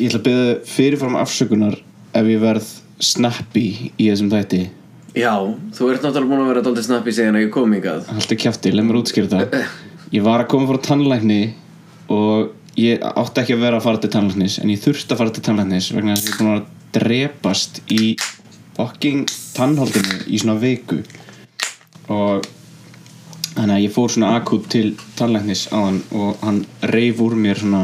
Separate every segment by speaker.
Speaker 1: Ég ætla að byrja fyrirfram afsökunar ef ég verð snappy í þessum þætti
Speaker 2: Já, þú ert náttúrulega búin að vera daldið snappi síðan að ég kom hingað
Speaker 1: Haltu kjafti, leið mér útskýra þetta Ég var að koma frá tannlækni og ég átti ekki að vera að fara til tannlæknis en ég þurfti að fara til tannlæknis vegna þess að ég er búin að drepast í fucking tannholdinu í svona viku og þannig að ég fór svona akut til tannlæknis á hann og hann reif úr mér svona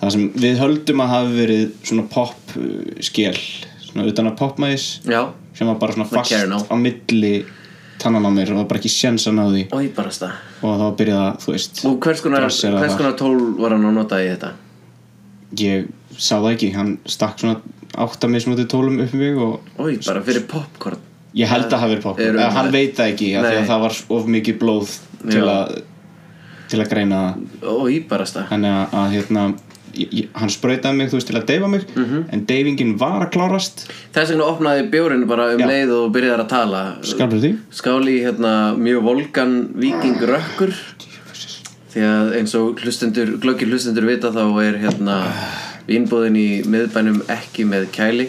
Speaker 1: það sem við höldum að hafi verið svona pop uh, skél svona utan að popmæðis
Speaker 2: Já,
Speaker 1: sem var bara svona
Speaker 2: Like
Speaker 1: fast
Speaker 2: Karen á.
Speaker 1: á milli tannan á mér og það var bara ekki sjens að ná því
Speaker 2: oi barasta
Speaker 1: og þá byrjaði að, þú veist
Speaker 2: Og hvers konar,
Speaker 1: Brassera
Speaker 2: hvers
Speaker 1: það.
Speaker 2: konar tól var hann að nota í þetta?
Speaker 1: ég sá það ekki, hann stakk svona átta mismötu tólum upp í mig og
Speaker 2: Oi, bara fyrir popcorn
Speaker 1: ég held að hafi verið pop
Speaker 2: Eru-
Speaker 1: eða hann veit það ekki, af því
Speaker 2: Nei.
Speaker 1: að það var of mikið blóð til
Speaker 2: Já.
Speaker 1: að til að greina það
Speaker 2: Oi, barasta
Speaker 1: þannig að, að hérna ég, ég, hann sprautaði mig, þú veist, til að deyfa mig
Speaker 2: Mhm.
Speaker 1: en deyfingin var að klárast
Speaker 2: Þess vegna opnaði bjórinu bara um
Speaker 1: Já.
Speaker 2: leið og byrjaði að tala
Speaker 1: skalur því
Speaker 2: Skáli í hérna mjög volgan viking rökkur Því að eins og hlustendur, glöggir hlustendur vita þá er hérna Vínbúðin í miðbænum ekki með kæli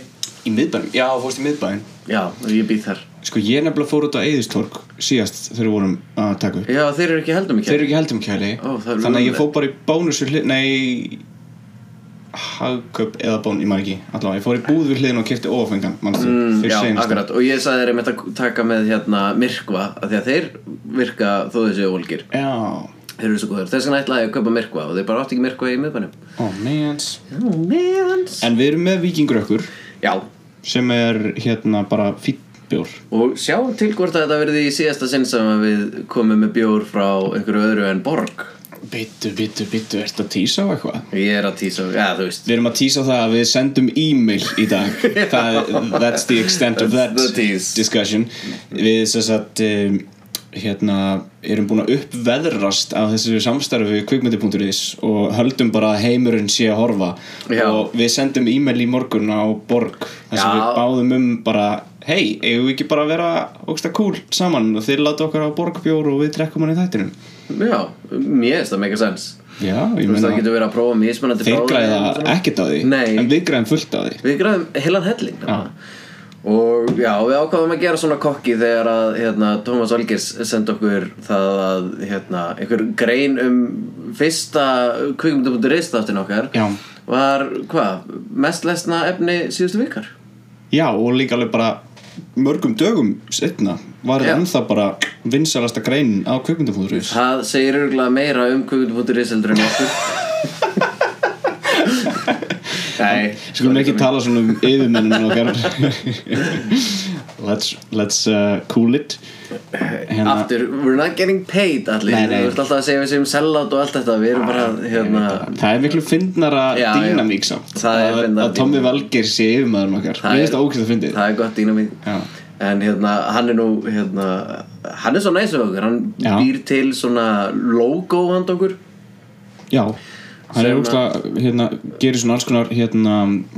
Speaker 1: í miðbænum, já, fórst í miðbæn
Speaker 2: Já, ég býð þar
Speaker 1: sko, ég nefnilega fór út á Eðistorg síðast þegar við vorum að taka upp
Speaker 2: Já, þeir eru ekki heldur með
Speaker 1: þeir
Speaker 2: kæli
Speaker 1: eru ekki heldum kæli
Speaker 2: Ó, það er
Speaker 1: þannig að ég
Speaker 2: umlegt.
Speaker 1: fór bara í bónusu hlið nei hagköp eða bán, ég maður ekki allavega, ég fór í búð við hliðin og kefti óafengan mannstu,
Speaker 2: Mm,
Speaker 1: fyrst
Speaker 2: Já,
Speaker 1: seinast.
Speaker 2: akkurat, og ég sagði þeir einmitt að taka með hérna myrkva af Því að þeir virka þó þessi ólgir
Speaker 1: já,
Speaker 2: Þeir eru svo góður, þess vegna ætlaði ég að kaupa myrkva Og þeir bara átti ekki myrkva í miðbænum
Speaker 1: ó mens
Speaker 2: Já, meðans
Speaker 1: en við erum með vikingrökkur
Speaker 2: Já,
Speaker 1: sem er hérna bara fítbjór
Speaker 2: Og sjá til hvort að þetta verði í síðasta sinn sem að við komum með bjór frá einhverju öðru en borg
Speaker 1: bitu, bitu, bitu, ertu að tísa á eitthvað?
Speaker 2: Ég er að tísa, já þú veist
Speaker 1: Við erum að tísa á það að við sendum e-mail í dag það, That's the extent of that
Speaker 2: That's the tease.
Speaker 1: discussion Við þess að um, hérna, erum búin að uppveðrast af þessu samstarfi kvikmyndi.is og höldum bara að heimurinn sé að horfa
Speaker 2: Já.
Speaker 1: og við sendum e-mail í morgun á Borg þar sem
Speaker 2: Já.
Speaker 1: við báðum um bara hei, eigum við ekki bara að vera ógsta kúl saman og þeir láta okkar á Borgbjór og við drekkum hann í þættinum
Speaker 2: Já, mér finnst það mega sens
Speaker 1: Já, ég
Speaker 2: Þú veist það
Speaker 1: meina,
Speaker 2: getur verið að prófa mismunandi
Speaker 1: þeir
Speaker 2: bráðir
Speaker 1: græða
Speaker 2: og svona.
Speaker 1: ekkert á því
Speaker 2: Nei.
Speaker 1: en við græðum fullt á því
Speaker 2: Við græðum heilan helling
Speaker 1: Já.
Speaker 2: Og já, við ákvaðum að gera svona kokki þegar að hérna, Tómas Olgers sendi okkur það að hérna, einhver grein um fyrsta kvikmyndu.is þáttinn okkar
Speaker 1: Já.
Speaker 2: var, hvað, mest lesna efni síðustu vikar
Speaker 1: Já, og líka alveg bara mörgum dögum setna var
Speaker 2: Já.
Speaker 1: þetta ennþá bara vinsalasta greinin á kvikmyndafúðurins
Speaker 2: Það segir örgulega meira um kvikmyndu.is heldur en okkur Nei
Speaker 1: Skulum ekki tala svona um yfirmenninu okkar Let's, let's uh, cool it Hérna,
Speaker 2: Aftur, we're not getting paid allir
Speaker 1: Nei, nei.
Speaker 2: Þú ert alltaf að segja við séum sellout og allt þetta Við erum bara, hérna
Speaker 1: það er miklu fyndnara
Speaker 2: Já, já.
Speaker 1: dýnamík samt
Speaker 2: hérna, Það er
Speaker 1: Að-
Speaker 2: fyndnara
Speaker 1: Að Tommy Valgeir sé yfirmæðurinn okkar
Speaker 2: Það
Speaker 1: Mér
Speaker 2: er-
Speaker 1: finnst það ókvæmt að fyndið
Speaker 2: Það er gott dýna mín
Speaker 1: Já.
Speaker 2: En hérna, hann er nú, hérna Hann er svo næs við okkur Hann
Speaker 1: Já.
Speaker 2: býr til svona logo handa okkur
Speaker 1: Já, hann er
Speaker 2: Sem
Speaker 1: ókvæmt að hérna, gerir svona alls konar hérna,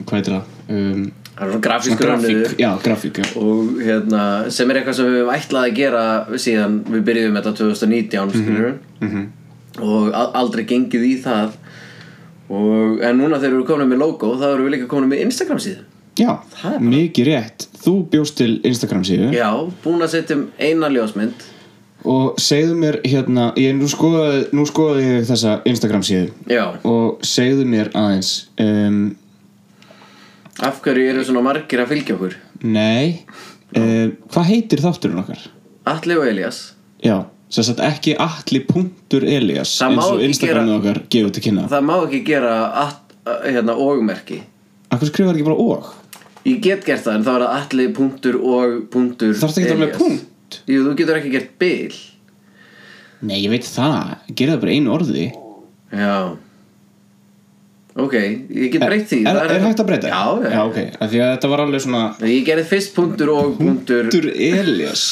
Speaker 1: hvað heitir það? Um,
Speaker 2: Hann er svona
Speaker 1: svona
Speaker 2: grafískur hönnuður.
Speaker 1: grafík, já, grafík já.
Speaker 2: og hérna, sem er eitthvað sem við höfum ætlað að gera síðan við byrjuðum þetta
Speaker 1: Mhm,
Speaker 2: 2019 skilur og a- aldrei gengið í það og, en núna þegar við erum komin með logo þá erum við líka komin með Instagram síðu
Speaker 1: já,
Speaker 2: Það er bara-
Speaker 1: mikið rétt Þú bjóst til Instagram síðu
Speaker 2: já, búin að setja um eina ljósmynd
Speaker 1: Og segðu mér hérna, ég nú skoðaði, nú skoðaði ég þessa Instagram síðu
Speaker 2: já,
Speaker 1: og segðu mér aðeins, um,
Speaker 2: af hverju eru svona margir að fylgja okkur
Speaker 1: nei, um, hvað heitir þátturinn okkar?
Speaker 2: Atli og Elias
Speaker 1: Já, sem sagt ekki atli.elias
Speaker 2: Það má
Speaker 1: eins og
Speaker 2: ekki
Speaker 1: Instagramið
Speaker 2: gera-
Speaker 1: okkar gefur til kynna.
Speaker 2: það má ekki gera at, hérna, ogmerki
Speaker 1: Akkur skrifar ekki bara og?
Speaker 2: ég get gert það en þá er það Atli punktur og punktur
Speaker 1: Þarftu ekki að vera með
Speaker 2: Elías.
Speaker 1: punkt?
Speaker 2: jú, þú getur ekki gert bil
Speaker 1: Nei, ég veit það, gerðu það bara einu orði.
Speaker 2: Já Ok, ég get breytt því
Speaker 1: Er,
Speaker 2: Það
Speaker 1: er, hægt að breyta?
Speaker 2: Já, já,
Speaker 1: Já, ok, af því að þetta var alveg svona
Speaker 2: Ég gerði fyrst punktur og punktur
Speaker 1: Þáttur Elias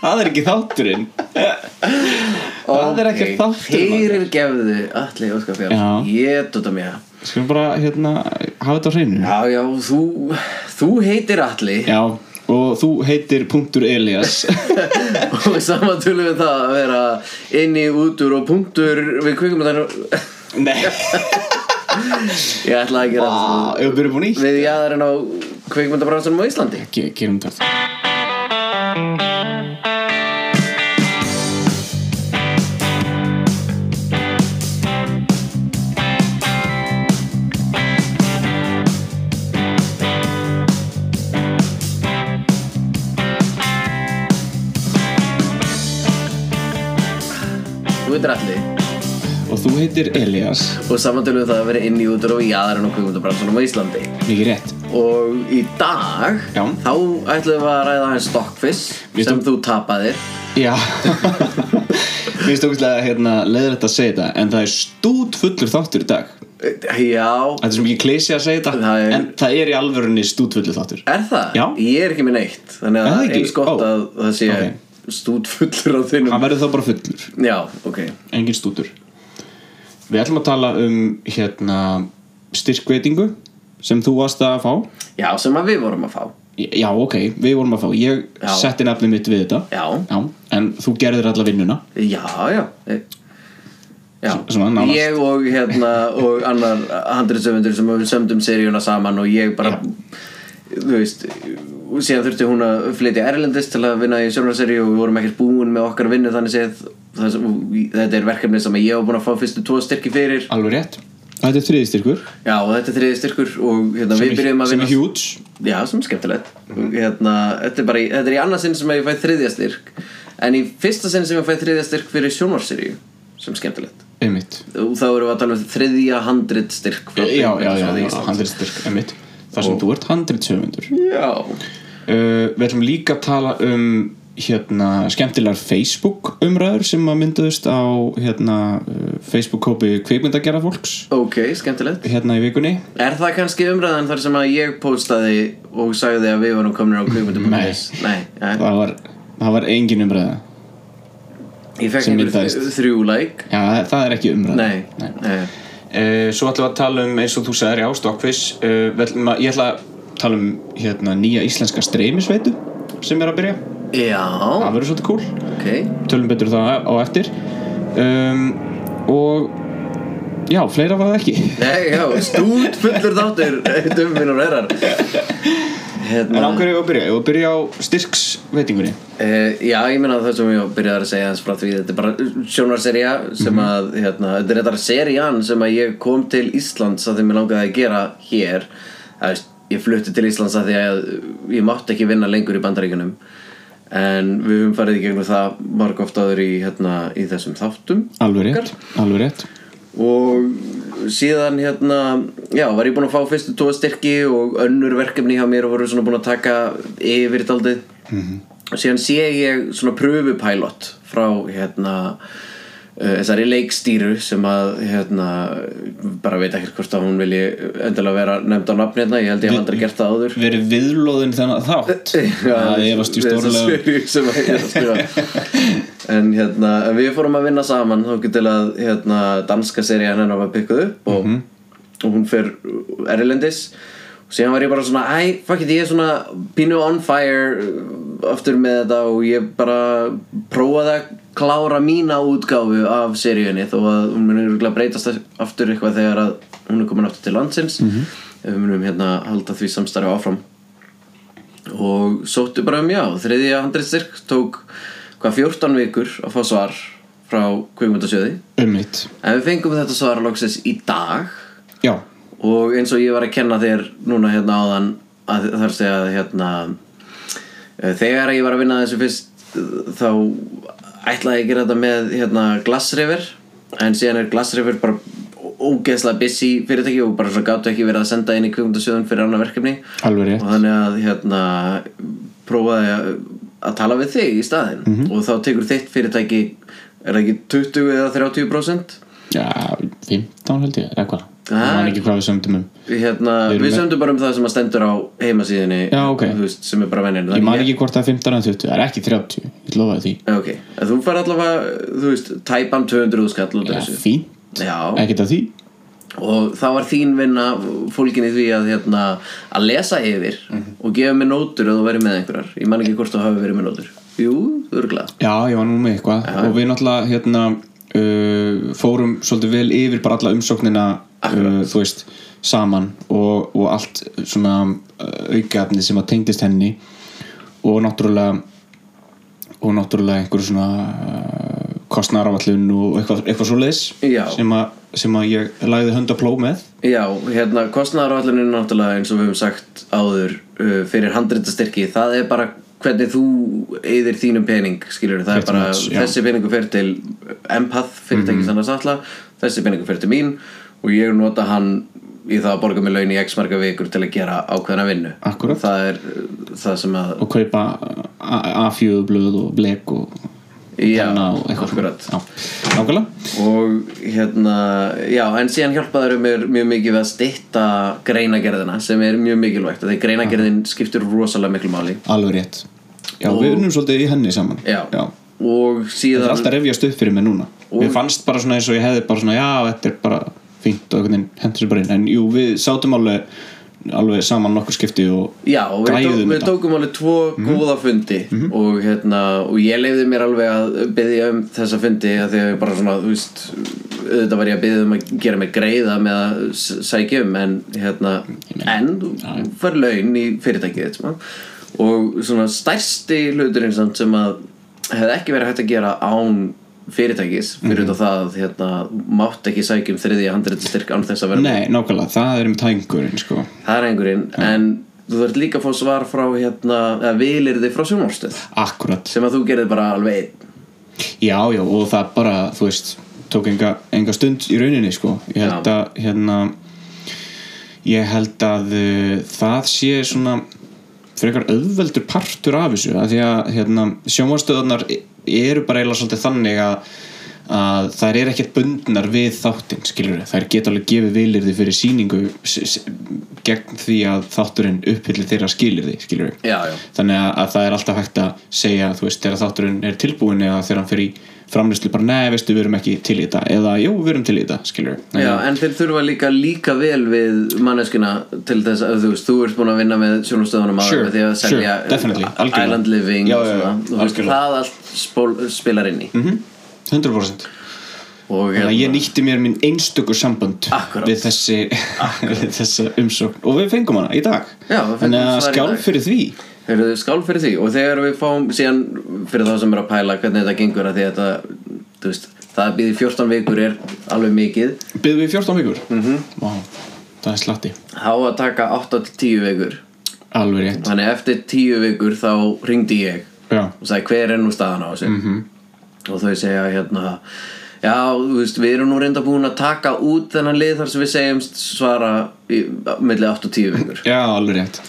Speaker 1: Það er ekki þátturinn Það er ekki þátturinn okkar.
Speaker 2: Fyrir gefðu allir óskar
Speaker 1: Já.
Speaker 2: fjár Ég dota mér
Speaker 1: Skulum bara hérna hafa þetta á hreinu
Speaker 2: Já, já, þú, þú heitir allir
Speaker 1: Já, og þú heitir punktur Elias
Speaker 2: Og saman tölum við það að vera Inni, útur og punktur Við kvikum þetta
Speaker 1: Nei
Speaker 2: Ég ætlaði að gera
Speaker 1: Vá, ef við byrjum búin í
Speaker 2: þetta Við jáðarinn á kveikmyndabransunum á Íslandi
Speaker 1: Ge- Gerum þetta
Speaker 2: Þú veitir allir
Speaker 1: Og þú heitir Elias
Speaker 2: Og samantölum við það að vera inn í útur og í jáðarinn á kveikmyndabransunum á Íslandi
Speaker 1: Mikið rétt
Speaker 2: Og í dag
Speaker 1: Já.
Speaker 2: Þá ætlum við að ræða hann Stockfish
Speaker 1: Við
Speaker 2: Sem þú tapaðir
Speaker 1: Já Mér stókislega hérna, leiðrætt að segja þetta En það er stút fullur þáttur í dag
Speaker 2: Eh, Já
Speaker 1: Þetta er sem ekki klesi að segja þetta
Speaker 2: Það er-
Speaker 1: En það er í alvörunni stútvöldu þáttur
Speaker 2: Er það?
Speaker 1: Já.
Speaker 2: Ég er ekki með neitt
Speaker 1: Er
Speaker 2: Þannig að
Speaker 1: það
Speaker 2: það er
Speaker 1: ekki?
Speaker 2: eins gott
Speaker 1: Ó.
Speaker 2: að það sé
Speaker 1: Ok.
Speaker 2: stútfullur á þinnum
Speaker 1: Hann verður þá bara fullur
Speaker 2: Já, ok
Speaker 1: Engin stútur Við ætlum að tala um hérna, styrkveitingu Sem þú varst að fá
Speaker 2: Já, sem að við vorum að fá
Speaker 1: Já, ok, við vorum að fá Ég
Speaker 2: Já.
Speaker 1: setti nafnið mitt við þetta
Speaker 2: Já.
Speaker 1: En þú gerðir alla vinnuna
Speaker 2: Já, já Eh, Já,
Speaker 1: Sem að nánast.
Speaker 2: ég og hérna og annar handriðsöfundur sem við sömdum seríuna saman og ég bara þú veist, síðan þurfti hún að flytja Erlendist til að vinna í sjónarseríu og við vorum ekkert búin með okkar vinnu þannig séð það, þetta er verkefni sem ég var búin að fá fyrstu tvo styrki fyrir
Speaker 1: Alveg rétt Þetta er þriði styrkur
Speaker 2: Já, og þetta er þriði styrkur og hérna, við byrjum að
Speaker 1: Sem
Speaker 2: vinna
Speaker 1: er huge
Speaker 2: Já, sem er skemmtilegt Og, hérna, þetta, er bara, í- þetta er í annað sinn sem ég fæ þriðja styrk En í fyrsta sinn sem ég fæ þriðja styrk fyrir sjónvarseríu Sem er skemmtilegt
Speaker 1: Einmitt
Speaker 2: Og þá erum við að tala um þriðja handrit styrk frá
Speaker 1: Já, já, já, já,
Speaker 2: Kvikmyndasjóði
Speaker 1: já
Speaker 2: Íslands.
Speaker 1: handriðstyrk Einmitt Þar sem þú ert handriðshöfundur
Speaker 2: Já,
Speaker 1: Uh, við ætlum líka að tala um hérna, skemmtilegar Facebook umræður sem að mynduðust á hérna, uh, Facebook kópi kveikmyndagerða fólks
Speaker 2: ok, skemmtilegt
Speaker 1: hérna í vikunni
Speaker 2: Er það kannski umræðan þar sem að ég postaði og sagði að við varum komin á kvikmyndu.is Nei, eh, ja.
Speaker 1: það var, það var engin umræða
Speaker 2: ég fekk
Speaker 1: sem
Speaker 2: einhver
Speaker 1: myndaðist.
Speaker 2: þrjú like
Speaker 1: Já, það, það er ekki umræða
Speaker 2: Nei, nei,
Speaker 1: Uh, svo ætlum við að tala um eins og þú sagðir, já, Stockfish uh, við ætlum að, ég ætla að tala um hérna, nýja íslenska streymisveitu sem er að byrja,
Speaker 2: Eh, Já,
Speaker 1: það verður svolítið cool
Speaker 2: ok
Speaker 1: tölum betur það á eftir um, og já, fleira var það ekki
Speaker 2: Nei, já, stút fullur þáttur Döfuminn og reyrar
Speaker 1: En
Speaker 2: hérna,
Speaker 1: á hverju eigum við að byrja? Ég að byrja á styrksveitingunni
Speaker 2: uh, Já, ég meina það sem ég byrjaði að segja hans frá því Þetta er bara sjónarserja sem að hérna, Þetta er þetta serían sem að ég kom til Íslands að því mér langaði að gera hér Það veist, Ég flutti til Íslands að því að ég mátti ekki vinna lengur í bandaríkunum En við höfum farið í gegnum það marg oft áður í, hérna, í þessum þáttum
Speaker 1: Alveg rétt, alveg rétt
Speaker 2: og síðan hérna já, var ég búinn að fá fyrstu tóa styrki og önnur verkefni hjá mér voru svona búin að taka yfir daldið og síðan sé ég svona pröfupælot frá hérna eh, þessari leikstýru sem að hérna, bara veit ekki hvort að hún vilji endilega vera nefnd á nafni hérna, ég held ég hef aldrei gert það áður
Speaker 1: Verið viðlóðin þennan þátt Það
Speaker 2: Já,
Speaker 1: efast ég
Speaker 2: þessa
Speaker 1: stórlega um
Speaker 2: seríu sem að ég er að skrifa En hérna, en við fórum að vinna saman þá til að hérna, danska serían hennar var pikkuð upp og, og hún fer Erlendis og síðan var ég bara svona, æ, fuck it, ég er svona pínu on fire uh, aftur með þetta og ég bara prófaði að klára mína útgáfu af seríunni þó að hún munir örugglega breytast aftur eitthvað þegar að hún er komin aftur til landsins ef við munum hérna halda því samstarfi áfram og sóttu bara um já þriðja handrið styrk tók hvað 14 vikur að fá svar frá kvikmyndasjöði
Speaker 1: Ummitt
Speaker 2: en við fengum þetta svar loksins í dag
Speaker 1: Já,
Speaker 2: og eins og ég var að kenna þér núna hérna áðan að þar segja að, hérna eh, þegar ég var að vinna að þessu fyrst eh, þá ætlaði ég að gera þetta með hérna glassrifir en síðan er glassrifir bara ógeðslega busy fyrirtæki og bara svo gáttu ekki verið að senda inn í kvikmyndasjöðun fyrir annað verkefni
Speaker 1: alveg rétt
Speaker 2: og þannig að hérna prófaði að, að tala við þig í staðinn
Speaker 1: Mhm.
Speaker 2: og þá tekur þitt fyrirtæki er það ekki 20 eða 30%
Speaker 1: Já, 15 held ég, eða hvað
Speaker 2: Ah.
Speaker 1: Það var ekki hvað við sömdum um
Speaker 2: hérna,
Speaker 1: erum
Speaker 2: við
Speaker 1: með-
Speaker 2: sömdum bara um það sem að stendur á heimasíðinni
Speaker 1: Já, ok.
Speaker 2: þú veist, sem er bara venjan
Speaker 1: Ég man ekki hvort það er 15 en 20, það er ekki 30 Ég lofaði því
Speaker 2: ok, En þú fær allavega, þú veist, tæpan 200 skall út af
Speaker 1: Já,
Speaker 2: þessu
Speaker 1: fínt,
Speaker 2: Já,
Speaker 1: ekkert af því
Speaker 2: og það var þín vinna fólkin í því að, hérna, að lesa yfir
Speaker 1: Mhm.
Speaker 2: og gefa mér nótur ef þú verið með einhverjar ég man ekki hvort þú hafi verið með nótur jú, örglað
Speaker 1: Já, ég var nú með eitthvað og við náttúrulega hérna, uh, fórum svolítið vel yfir bara alla umsóknina uh, þú veist, saman og, og allt svona uh, aukaefni sem að tengdist henni og náttúrulega og náttúrulega einhver svona uh, kostnarafallun og eitthvað, eitthvað svo leis
Speaker 2: Já.
Speaker 1: sem, að- sem að ég lagði hönd að pló með
Speaker 2: Já, hérna, kostnæðarállinu náttúrulega eins og við höfum sagt áður uh, fyrir handreitastyrki, það er bara hvernig þú eyðir þínum pening skilur, það er
Speaker 1: Pretty
Speaker 2: bara,
Speaker 1: much, já. Mhm.
Speaker 2: þessi peningu fyrir til empath fyrirtækis mm -hmm. annars alla, þessi peningu fyrir til mín og ég nota hann í það að borga mig laun í x marga vikur til að gera ákveðna vinnu
Speaker 1: Akkúrat.
Speaker 2: það er uh, það sem að
Speaker 1: og kaupa uh, afjöðublöð og blek og
Speaker 2: Já,
Speaker 1: penna og eitthvað svona.
Speaker 2: akkurat.
Speaker 1: Já, nákvæmlega
Speaker 2: og hérna já, en síðan hjálpaður mér mjög mikið við að stytta greinagerðina sem er mjög mikilvægt, þegar greinagerðin skiptir rosalega miklu máli
Speaker 1: alveg rétt já, við unnum svolítið í henni saman
Speaker 2: já.
Speaker 1: Já. það
Speaker 2: og
Speaker 1: er
Speaker 2: síðan
Speaker 1: alltaf revjast upp fyrir mig núna mér fannst bara svona eins og ég hefði bara svona já, þetta er bara fínt og einhvern veginn hendur sér bara inn en jú, við sátum alveg alveg saman nokkur skipti og
Speaker 2: já, og við,
Speaker 1: Græjuðum
Speaker 2: tók, við
Speaker 1: þetta.
Speaker 2: tókum alveg tvo góða fundi og, hérna, og ég leiði mér alveg að byggja um þessa fundi af því að ég bara svona, þú veist auðvitað var ég að byggja um að gera mig greiða með að s- sækja um en, hérna, en þú fær laun í fyrirtækið þitt, svona. og svona stærsti hluturinn samt sem að hefði ekki verið hægt að gera án fyrirtækis fyrir mm það að hérna, þú mátt ekki sækja um þriðja handreitastyrk án þess að vera
Speaker 1: nei, nákvæmlega, það er um tængurinn sko.
Speaker 2: það er einhverjinn en þú þarf líka að fá svar frá hérna, eða vilirði frá sjónvarstöð
Speaker 1: akkurat,
Speaker 2: sem að þú gerði bara alveg einn
Speaker 1: já, já, og það bara þú veist, tók enga, enga stund í rauninni, sko, ég held
Speaker 2: Já.
Speaker 1: að hérna ég held að uh, það sé svona frekar auðveldur partur af þessu af því að hérna, sjónvarstöðunar eru bara eiginlega svolítið þannig að, að þær eru ekkert bundnar við þáttinn, skilur við, þær geta alveg gefið vilirði fyrir sýningu s- s- gegn því að þátturinn upphyllir þeirra skilirði, skilur við
Speaker 2: Já, já.
Speaker 1: þannig að, að það er alltaf hægt að segja þú veist, þegar þátturinn er tilbúin eða þegar hann fer í framlýslu bara, nei, veistu, við erum ekki til í þetta eða, jú, við erum til í þetta, skilur við
Speaker 2: Já, en þeir þurfa líka líka vel við manneskina til þess að þú veist, þú ert búin að vinna með sjónvarstöðunum
Speaker 1: Sure,
Speaker 2: með því að selja uh,
Speaker 1: sure, definitely, algjörlega.
Speaker 2: Island Living
Speaker 1: Já,
Speaker 2: og
Speaker 1: já, já,
Speaker 2: svona. Þú veist,
Speaker 1: algjörlega.
Speaker 2: það allt spól, spilar inn í mm.
Speaker 1: 100%
Speaker 2: og
Speaker 1: mhm, Þannig
Speaker 2: hérna,
Speaker 1: að ég nýtti mér minn einstökur sambönd
Speaker 2: Akkúrat.
Speaker 1: við þessi, við þessa umsókn og við fengum hana í dag
Speaker 2: Já, við fengum
Speaker 1: Þannig að
Speaker 2: svar í
Speaker 1: skjálf
Speaker 2: dag.
Speaker 1: fyrir því
Speaker 2: Heyrðu, skál fyrir því og þegar við fáum síðan fyrir þá sem er að pæla hvernig þetta gengur að því að þetta, þú veist, það býði 14 vikur er alveg mikið
Speaker 1: byggðum við í 14 vikur mm
Speaker 2: Mhm.
Speaker 1: -hmm. það er slatti,
Speaker 2: þá að taka 8-10 vikur
Speaker 1: alveg rétt
Speaker 2: Þannig eftir tíu vikur þá ringdi ég
Speaker 1: Já,
Speaker 2: og sagði hver er nú staðan á þessu -hmm. og þau segja hérna já, þú veist, við erum nú reynda búin að taka út þennan lið þar sem við segjumst svara í, milli 8 og 10 vikur
Speaker 1: Já alveg rétt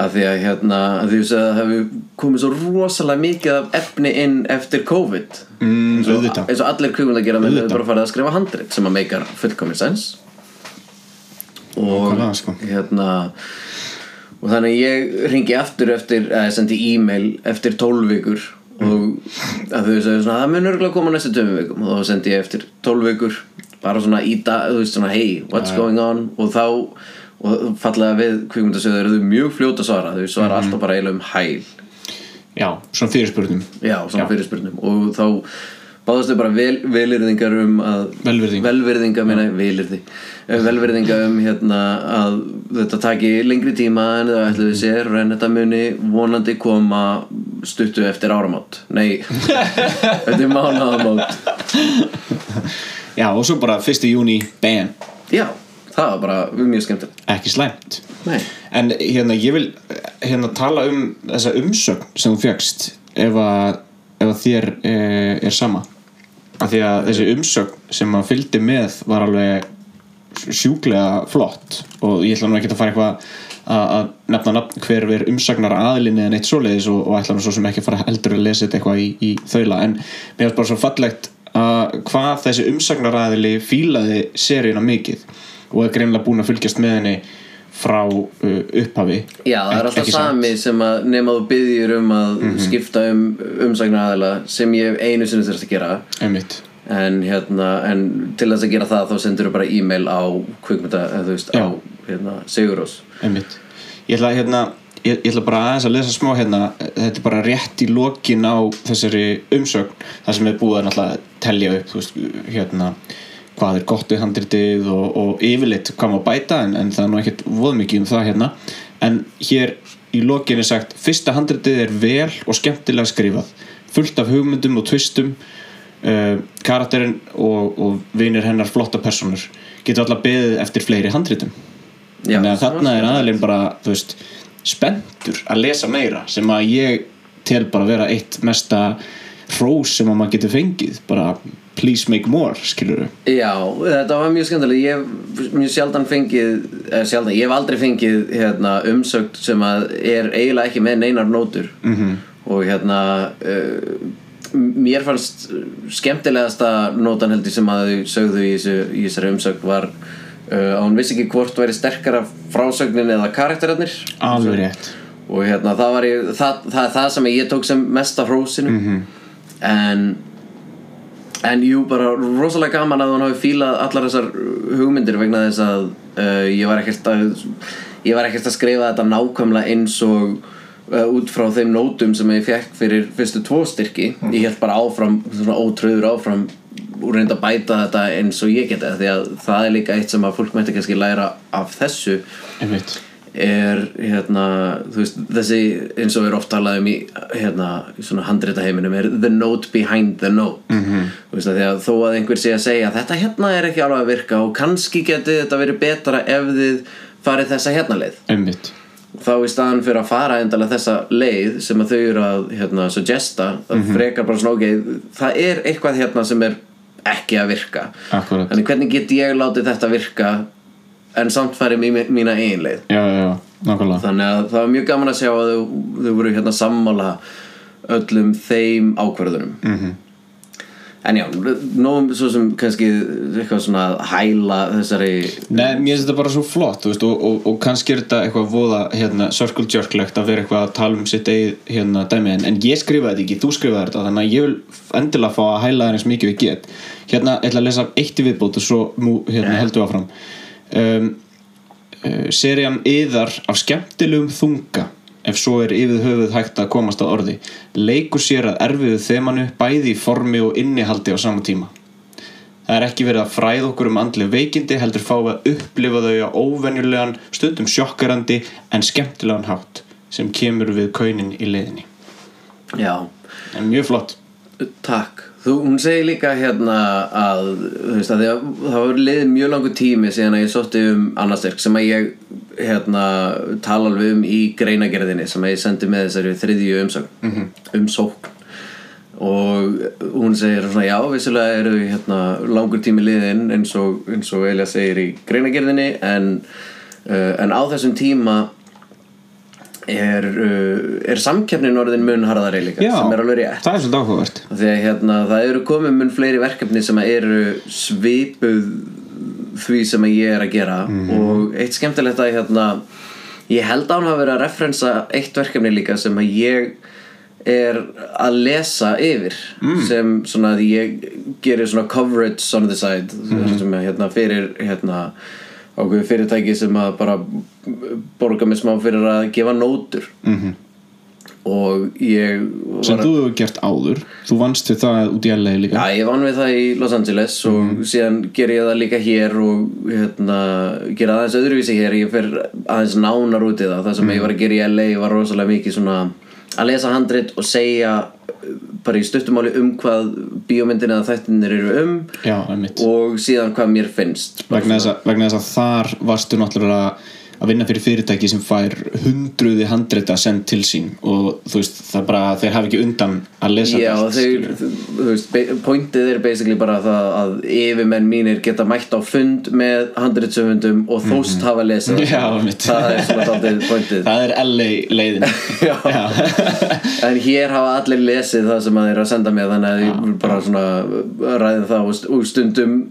Speaker 2: af því að hérna, af því að það hefur komið svo rosalega mikið af efni inn eftir COVID
Speaker 1: mm,
Speaker 2: Svo-
Speaker 1: auðvitað.
Speaker 2: eins og allir kvikmynd að gera með
Speaker 1: Auðvitað.
Speaker 2: þau bara farið að skrifa handrit sem að meikar fullkomin sens og
Speaker 1: Nákvæmlega, sko.
Speaker 2: hérna og þannig að ég ringi aftur eftir eða sendi e-mail eftir 12 vikur
Speaker 1: Mm.
Speaker 2: og að þau segja svona það mun örgulega koma næstu tömum vikum og þá sendi ég eftir 12 vikur bara svona í dag, þú veist svona hey, what's going on og þá og fallega við kvikmyndasöður eru þau mjög fljóta að svara þau svara
Speaker 1: Mhm.
Speaker 2: alltaf bara eiginlega um hæl
Speaker 1: Já, svona fyrirspurnum
Speaker 2: Já, svona fyrirspurnum og þá báðast þau bara vel, velirðingar um að
Speaker 1: Velvirðing.
Speaker 2: velvirðinga, meina, velirði Eh, velvirðinga um hérna að þetta taki lengri tíma en það ætluðu sér en þetta muni vonandi koma stuttu eftir áramót nei, þetta er mánaðamót
Speaker 1: Já, og svo bara 1. júni, bam
Speaker 2: já, það var bara mjög skemmtilegt
Speaker 1: ekki slæmt
Speaker 2: nei,
Speaker 1: En hérna, ég vil hérna tala um þessa umsögn sem þú fjöxt ef að, ef að þér e, er sama af því að þessi umsögn sem að fylgdi með var alveg sjúklega flott og ég ætla nú ekki að fara eitthvað að að nefna nafn hver er umsagnar aðlinn eða neitt svoleiðis og, og ætla nú svo sem ekki að fara heldur að lesa þetta eitthvað í, í þaula en mér finnst bara svo fallegt að hvað þessi umsagnar aðli fílaði seríuna mikið og er greinlega búin að fylgjast með henni frá uh, upphafi
Speaker 2: já, það
Speaker 1: Ek-
Speaker 2: er alltaf
Speaker 1: ekki satt. Mhm.
Speaker 2: sami sem að nema þú byggjur um að skipta um umsagnaraðila sem ég hef einu sinni þurft að gera
Speaker 1: einmitt
Speaker 2: en, hérna, en til þess að gera það þá sendur þú bara e-mail á kvikmynda, eða þú veist,
Speaker 1: Já.
Speaker 2: á hérna, Sigurós
Speaker 1: Einmitt. Ég ætla, hérna, ég, ég ætla bara aðeins að lesa smá hérna þetta er bara rétt í lokin á þessari umsögn þar sem er búið að náttúrulega telja upp þú veist, hérna, hvað er gott við handritið og, og yfirleitt hvað maður bæta en, en það er nú ekkert voð mikið um það hérna en hér í lokin er sagt fyrsta handritið er vel og skemmtilega skrifað fullt af hugmyndum og tvistum uh, karakterinn og, og vinir hennar flotta personur getur alltaf beðið eftir fleiri handritum
Speaker 2: Já,
Speaker 1: þannig að
Speaker 2: það var
Speaker 1: þarna er aðalinn bara þú veist, spenntur að lesa meira sem að ég tel bara vera eitt mesta hrós sem að maður getur fengið bara please make more skilur við
Speaker 2: Já, þetta var mjög skemmtilega Ég hef mjög sjaldan fengið eh, sjaldan, Ég hef aldrei fengið hérna, umsögn sem að er eiginlega ekki með neinar nótur
Speaker 1: Mhm.
Speaker 2: -hmm. og hérna uh, mér fannst skemmtilegasta nótan heldur sem að þau sögðu í, þessu, í þessari umsögn var uh, að hún vissi ekki hvort væri sterkara frásögnin eða karakterarnir
Speaker 1: alveg rétt
Speaker 2: og hérna það var ég, það, það, það sem ég tók sem mest af hrósinu -hmm. en en jú bara rosalega gaman að hún hafi fílað allar þessar hugmyndir vegna þess að uh, ég var ekkert að ég var ekkert að skrifa þetta nákvæmlega eins og uh, út frá þeim nótum sem ég fekk fyrir fyrstu tvo styrki ég held bara áfram, svona ótröður áfram og reynda að bæta þetta eins og ég geta því að það er líka eitt sem að fólk mætti kannski læra af þessu
Speaker 1: einmitt
Speaker 2: er hérna, þú veist, þessi eins og við erum oft talað um í hérna, í svona handrita heiminum er the note behind the note -hmm. þú veist að því að þó að einhver sé að segja þetta hérna er ekki alveg að virka og kannski geti þetta verið betra ef þið farið þessa hérna leið
Speaker 1: einmitt
Speaker 2: þá í staðan fyrir að fara endalega þessa leið sem að þau eru að hérna, suggesta það frekar bara svona ok það er eitthvað hérna sem er ekki að virka
Speaker 1: Akkúrat.
Speaker 2: þannig hvernig get ég látið þetta virka en samt farið mí- mína eigin leið
Speaker 1: já já já nákvæmlega
Speaker 2: þannig að það var mjög gaman að sjá að þau, þau voru hérna sammála öllum þeim ákvörðunum -hmm. en já, nógum svo sem kannski eitthvað svona að hæla þessari
Speaker 1: Nei, mér finnst þetta bara svo flott þú veist, og, og, og kannski er þetta eitthvað voða hérna, circle jerklegt að vera eitthvað að tala um sitt eigið hérna, dæmi en, en ég skrifaði þetta ekki, þú skrifaði þetta þannig að ég vil endilega fá að hæla það eins mikið við get hérna, ég ætla að lesa eitt í viðbót og svo mú, hérna, heldur áfram um, uh, Serían yðar af skemmtilegum þunga ef svo er yfir höfuð hægt að komast að orði leikur sér að erfiðu þemanu bæði í formi og innihaldi á sama tíma Það er ekki verið að fræða okkur um andlega veikindi heldur fá að upplifa þau á óvenjulegan, stundum sjokkarandi en skemmtilegan hátt sem kemur við kaunin í leiðinni.
Speaker 2: já,
Speaker 1: En mjög flott.
Speaker 2: takk Þú, hún segir líka hérna að, þú veist, að, því að það var liðið mjög langur tími síðan að ég sótti um annarstyrk sem að ég hérna, tala alveg um í greinagerðinni sem að ég sendi með þessari þriðju umsókn, umsókn. og hún segir svona, já, vissulega eru hérna, langur tími liðin eins og, eins og Elja segir í greinagerðinni en, uh, en á þessum tíma er, uh, er samkeppnin orðin mun harðari líka sem er alveg rétt
Speaker 1: það er svolítið áhugavert.
Speaker 2: Af því að hérna, það eru komið mun fleiri verkefni sem að eru svipuð því sem að ég er að gera og eitt skemmtilegt að hérna, ég held að hún hafa verið að referensa eitt verkefni líka sem að ég er að lesa yfir sem svona að ég gerir svona coverage on the side sem að hérna fyrir hérna ákveðu fyrirtæki sem að bara borga mig smá fyrir að gefa nótur -hmm. og ég var
Speaker 1: Sem þú hefur gert áður. Þú vannst við það út í LA líka.
Speaker 2: Já, ég vann við það í Los Angeles og
Speaker 1: Mhm.
Speaker 2: síðan ger ég það líka hér og hérna, gera aðeins öðruvísi hér ég fer aðeins nánar út í það það sem ég
Speaker 1: Mhm.
Speaker 2: var að gera í LA var rosalega mikið svona að lesa handrit og segja uh, bara í stuttumáli um hvað bíómyndin eða þættinir eru um
Speaker 1: Já, einmitt.
Speaker 2: og síðan hvað mér finnst
Speaker 1: Vegna þess, að, vegna þess að þar varstu náttúrulega að vinna fyrir fyrirtæki sem fær hundruði handreita send til sín og þú veist, það er bara, þeir hafa ekki undan að lesa
Speaker 2: Já,
Speaker 1: allt, skilur.
Speaker 2: þeir, þú veist, be- pointið er basically bara það að yfirmenn mínir geta mætt á fund með handritsöfundum og þóst hafa lesið það.
Speaker 1: Mhm. Já, einmitt.
Speaker 2: það er svona daldið pointið
Speaker 1: Það er LA leiðin
Speaker 2: Já. en hér hafa allir lesið það sem að þeir eru að senda mér þannig að ég vil bara svona ræði það og st- og stundum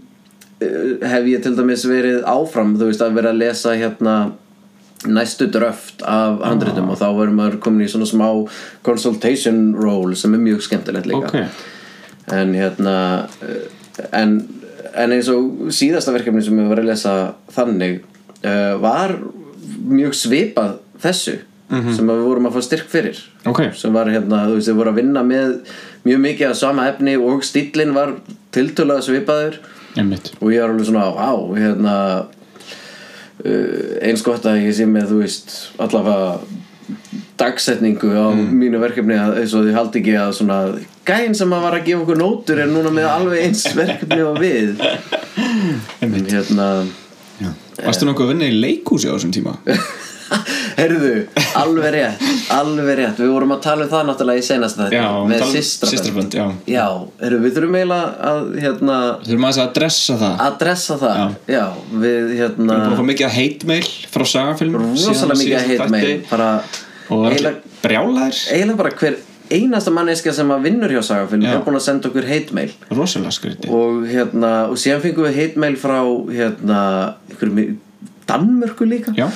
Speaker 2: eh, hef ég til dæmis verið áfram þú veist að vera að lesa hérna næstu dröft af handritum og þá verður maður komin í svona smá consultation role sem er mjög skemmtilegt líka
Speaker 1: Ok,
Speaker 2: en hérna eh, en, en eins og síðasta verkefni sem ég var að lesa þannig uh, var mjög svipað þessu sem að við vorum að fá styrk fyrir
Speaker 1: ok
Speaker 2: sem var hérna, þú veist, þið voru að vinna með mjög mikið af sama efni og stíllinn var tiltölulega svipaður
Speaker 1: Einmitt.
Speaker 2: og ég var alveg svona, vá, hérna uh, eins gott að ég sé með, þú veist, allavega dagsetningu á
Speaker 1: Mm.
Speaker 2: mínu verkefni að, eins og þið haldi ekki að svona gæinn sem að var að gefa okkur nótur er núna með alveg eins verkefni og við en hérna
Speaker 1: Varstu nokkuð að vinna í leikhúsi á þessum tíma?
Speaker 2: herðu, alveg rétt alveg rétt, við vorum að tala um það náttúrulega í senast þetta,
Speaker 1: Já,
Speaker 2: með
Speaker 1: tala- um
Speaker 2: systrabönd.
Speaker 1: systrabönd, já.
Speaker 2: já, herðu, við þurfum eiginlega að, hérna
Speaker 1: Þurfum aðeins að dressa það
Speaker 2: að dressa það, já, við
Speaker 1: Við erum
Speaker 2: hérna
Speaker 1: búin að fá mikið að heitmeil frá sagafilm
Speaker 2: rosalega mikið að heit með bara,
Speaker 1: Og
Speaker 2: eiginlega,
Speaker 1: allir brjálæðir
Speaker 2: eiginlega bara hver einasta manneska sem að vinnur hjá sagafilm
Speaker 1: Já.
Speaker 2: er búin að senda okkur heitmeil
Speaker 1: Rosalega skrítið
Speaker 2: og hérna og síðan fengum við heitmeil frá hérna ykkur Danmörku líka
Speaker 1: Já,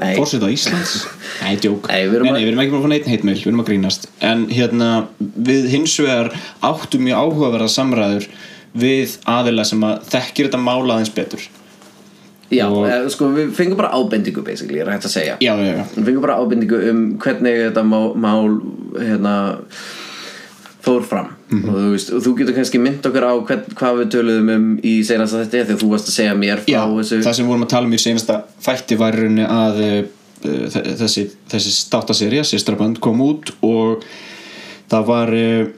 Speaker 2: Nei.
Speaker 1: fórsett á Íslands Nei, djók
Speaker 2: Nei, við erum
Speaker 1: nei,
Speaker 2: að-
Speaker 1: nei, við erum ekki bara fann einn heitmil, við erum að grínast En hérna, við hins vegar áttum mjög áhugaverða samræður Við aðila sem að þekkir þetta mála aðeins betur
Speaker 2: já
Speaker 1: Og-
Speaker 2: eh, sko við fengum bara ábendingu basically, er hægt að segja
Speaker 1: Já, já, já
Speaker 2: við fengum bara ábendingu um hvernig þetta má, mál hérna fór fram og þú, veist, og þú getur kannski mynd okkur á hvern, hvað við töluðum um í senast að þetta þegar þú varst að segja mér frá
Speaker 1: Já,
Speaker 2: þessu
Speaker 1: það sem við vorum að tala um í senasta þætti var í rauninni að uh, þe- þessi, þessi státaserja, sýstrabönd, kom út og það var uh,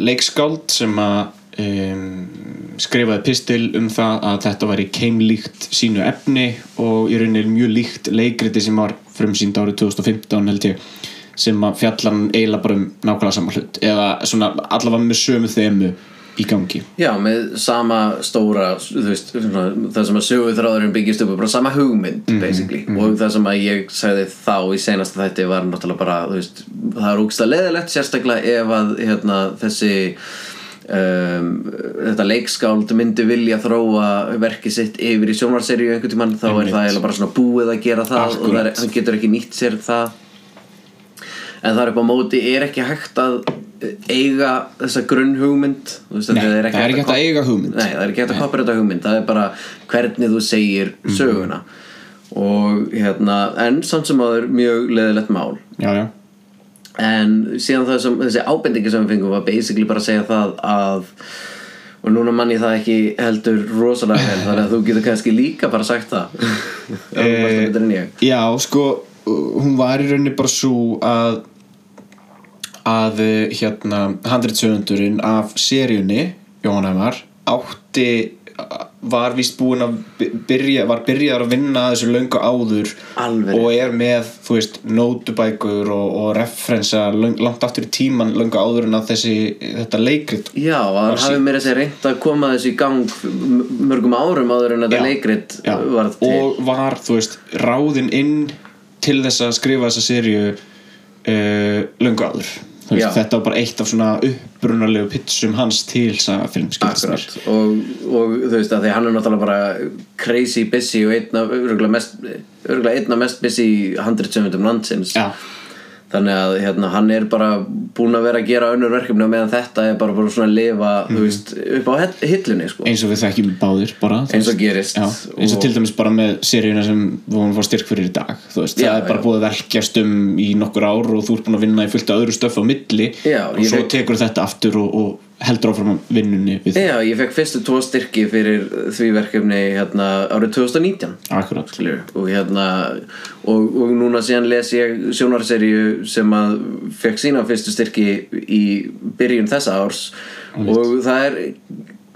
Speaker 1: leikskáld sem að um, skrifaði pistil um það að þetta væri keimlíkt sínu efni og í rauninni mjög líkt leikriti sem var frumsýnd árið 2015 held ég sem að fjallan eiginlega bara um nákvæmlega saman hlut eða svona allavega með sömu þemu í gangi
Speaker 2: Já, með sama stóra þú veist, svona, það sem að sögu þráðurinn byggist upp er bara sama hugmynd
Speaker 1: Mhm,
Speaker 2: basically og það sem að ég sagði þá í senasta þætti var náttúrulega bara þú veist, það er úksta leðilegt sérstaklega ef að hérna, þessi um, þetta leikskáld myndi vilja þróa verki sitt yfir í sjónvarserju einhvern tímann þá er
Speaker 1: Einmitt.
Speaker 2: það eiginlega bara svona búið að gera það og það er,
Speaker 1: Akkúrat.
Speaker 2: hann getur ekki nýtt sér það en þar upp á móti er ekki hægt að eiga þessa grunn hugmynd
Speaker 1: Nei, það er ekki hægt að eiga hugmynd.
Speaker 2: nei, það er ekki hægt að copyrighta hugmynd það er bara hvernig þú segir
Speaker 1: Mhm.
Speaker 2: söguna og hérna en samt sem aður mjög leðilegt mál
Speaker 1: Já, já,
Speaker 2: en síðan það sem þessi ábendingi sem við fengum var basically bara að segja það að og núna mann ég það ekki heldur rosalega vel þannig að þú getur kannski líka bara sagt það
Speaker 1: Eh,
Speaker 2: ef þú varst að betur en ég
Speaker 1: Já, sko, uh, hún var í rauninni bara svo að að uh, hérna handritsöfundurinn af seríunni Jóhann Æmar átti uh, var víst búinn að by- byrja, var byrjaður að vinna að þessu löngu áður
Speaker 2: Alveg.
Speaker 1: og er með, þú veist, nótubækur og, og referensa löng, langt aftur í tíman löngu áður en að þessi þetta leikrit
Speaker 2: Já, að hann hafi meira að segja reynt að koma þessu í gang m- mörgum árum áður en þetta
Speaker 1: Já,
Speaker 2: leikrit
Speaker 1: já.
Speaker 2: varð til
Speaker 1: og var, þú veist, ráðinn inn til þess að skrifa þessa seríu uh, löngu áður Þú veist,
Speaker 2: Já.
Speaker 1: þetta var bara eitt af svona upprunalegu pitsum hans til sagafilm skildist mér
Speaker 2: Akkurat, og, og þú veist að því hann er náttúrulega bara crazy busy og einn af örgulega mest, örgulega einn af mest busy 170 landsins
Speaker 1: já,
Speaker 2: þannig að hérna, hann er bara búin að vera að gera önnur verkefni á meðan þetta er bara, bara svona að lifa þú veist, upp á hell- hillunni sko.
Speaker 1: Mhm. eins og við þekkjum báðir bara þú
Speaker 2: Eins og
Speaker 1: veist.
Speaker 2: gerist.
Speaker 1: já, eins og
Speaker 2: Og-
Speaker 1: til dæmis bara með seríuna sem við vorum að fá styrk fyrir í dag þú veist,
Speaker 2: Já,
Speaker 1: það er bara
Speaker 2: já.
Speaker 1: búið að velkjast um í nokkur ár og þú ert búin að vinna í fullt af öðru stöf á milli
Speaker 2: Já,
Speaker 1: og
Speaker 2: ég
Speaker 1: svo
Speaker 2: veit-
Speaker 1: tekur þetta aftur og, og heldur áfram vinnunni við
Speaker 2: Já, ég fekk fyrstu tvo styrki fyrir því verkefni hérna, árið 2019
Speaker 1: akkurat
Speaker 2: skilur og hérna og, og núna síðan les ég sjónarseríu sem að fekk sína fyrstu styrki í byrjun þessa árs og það er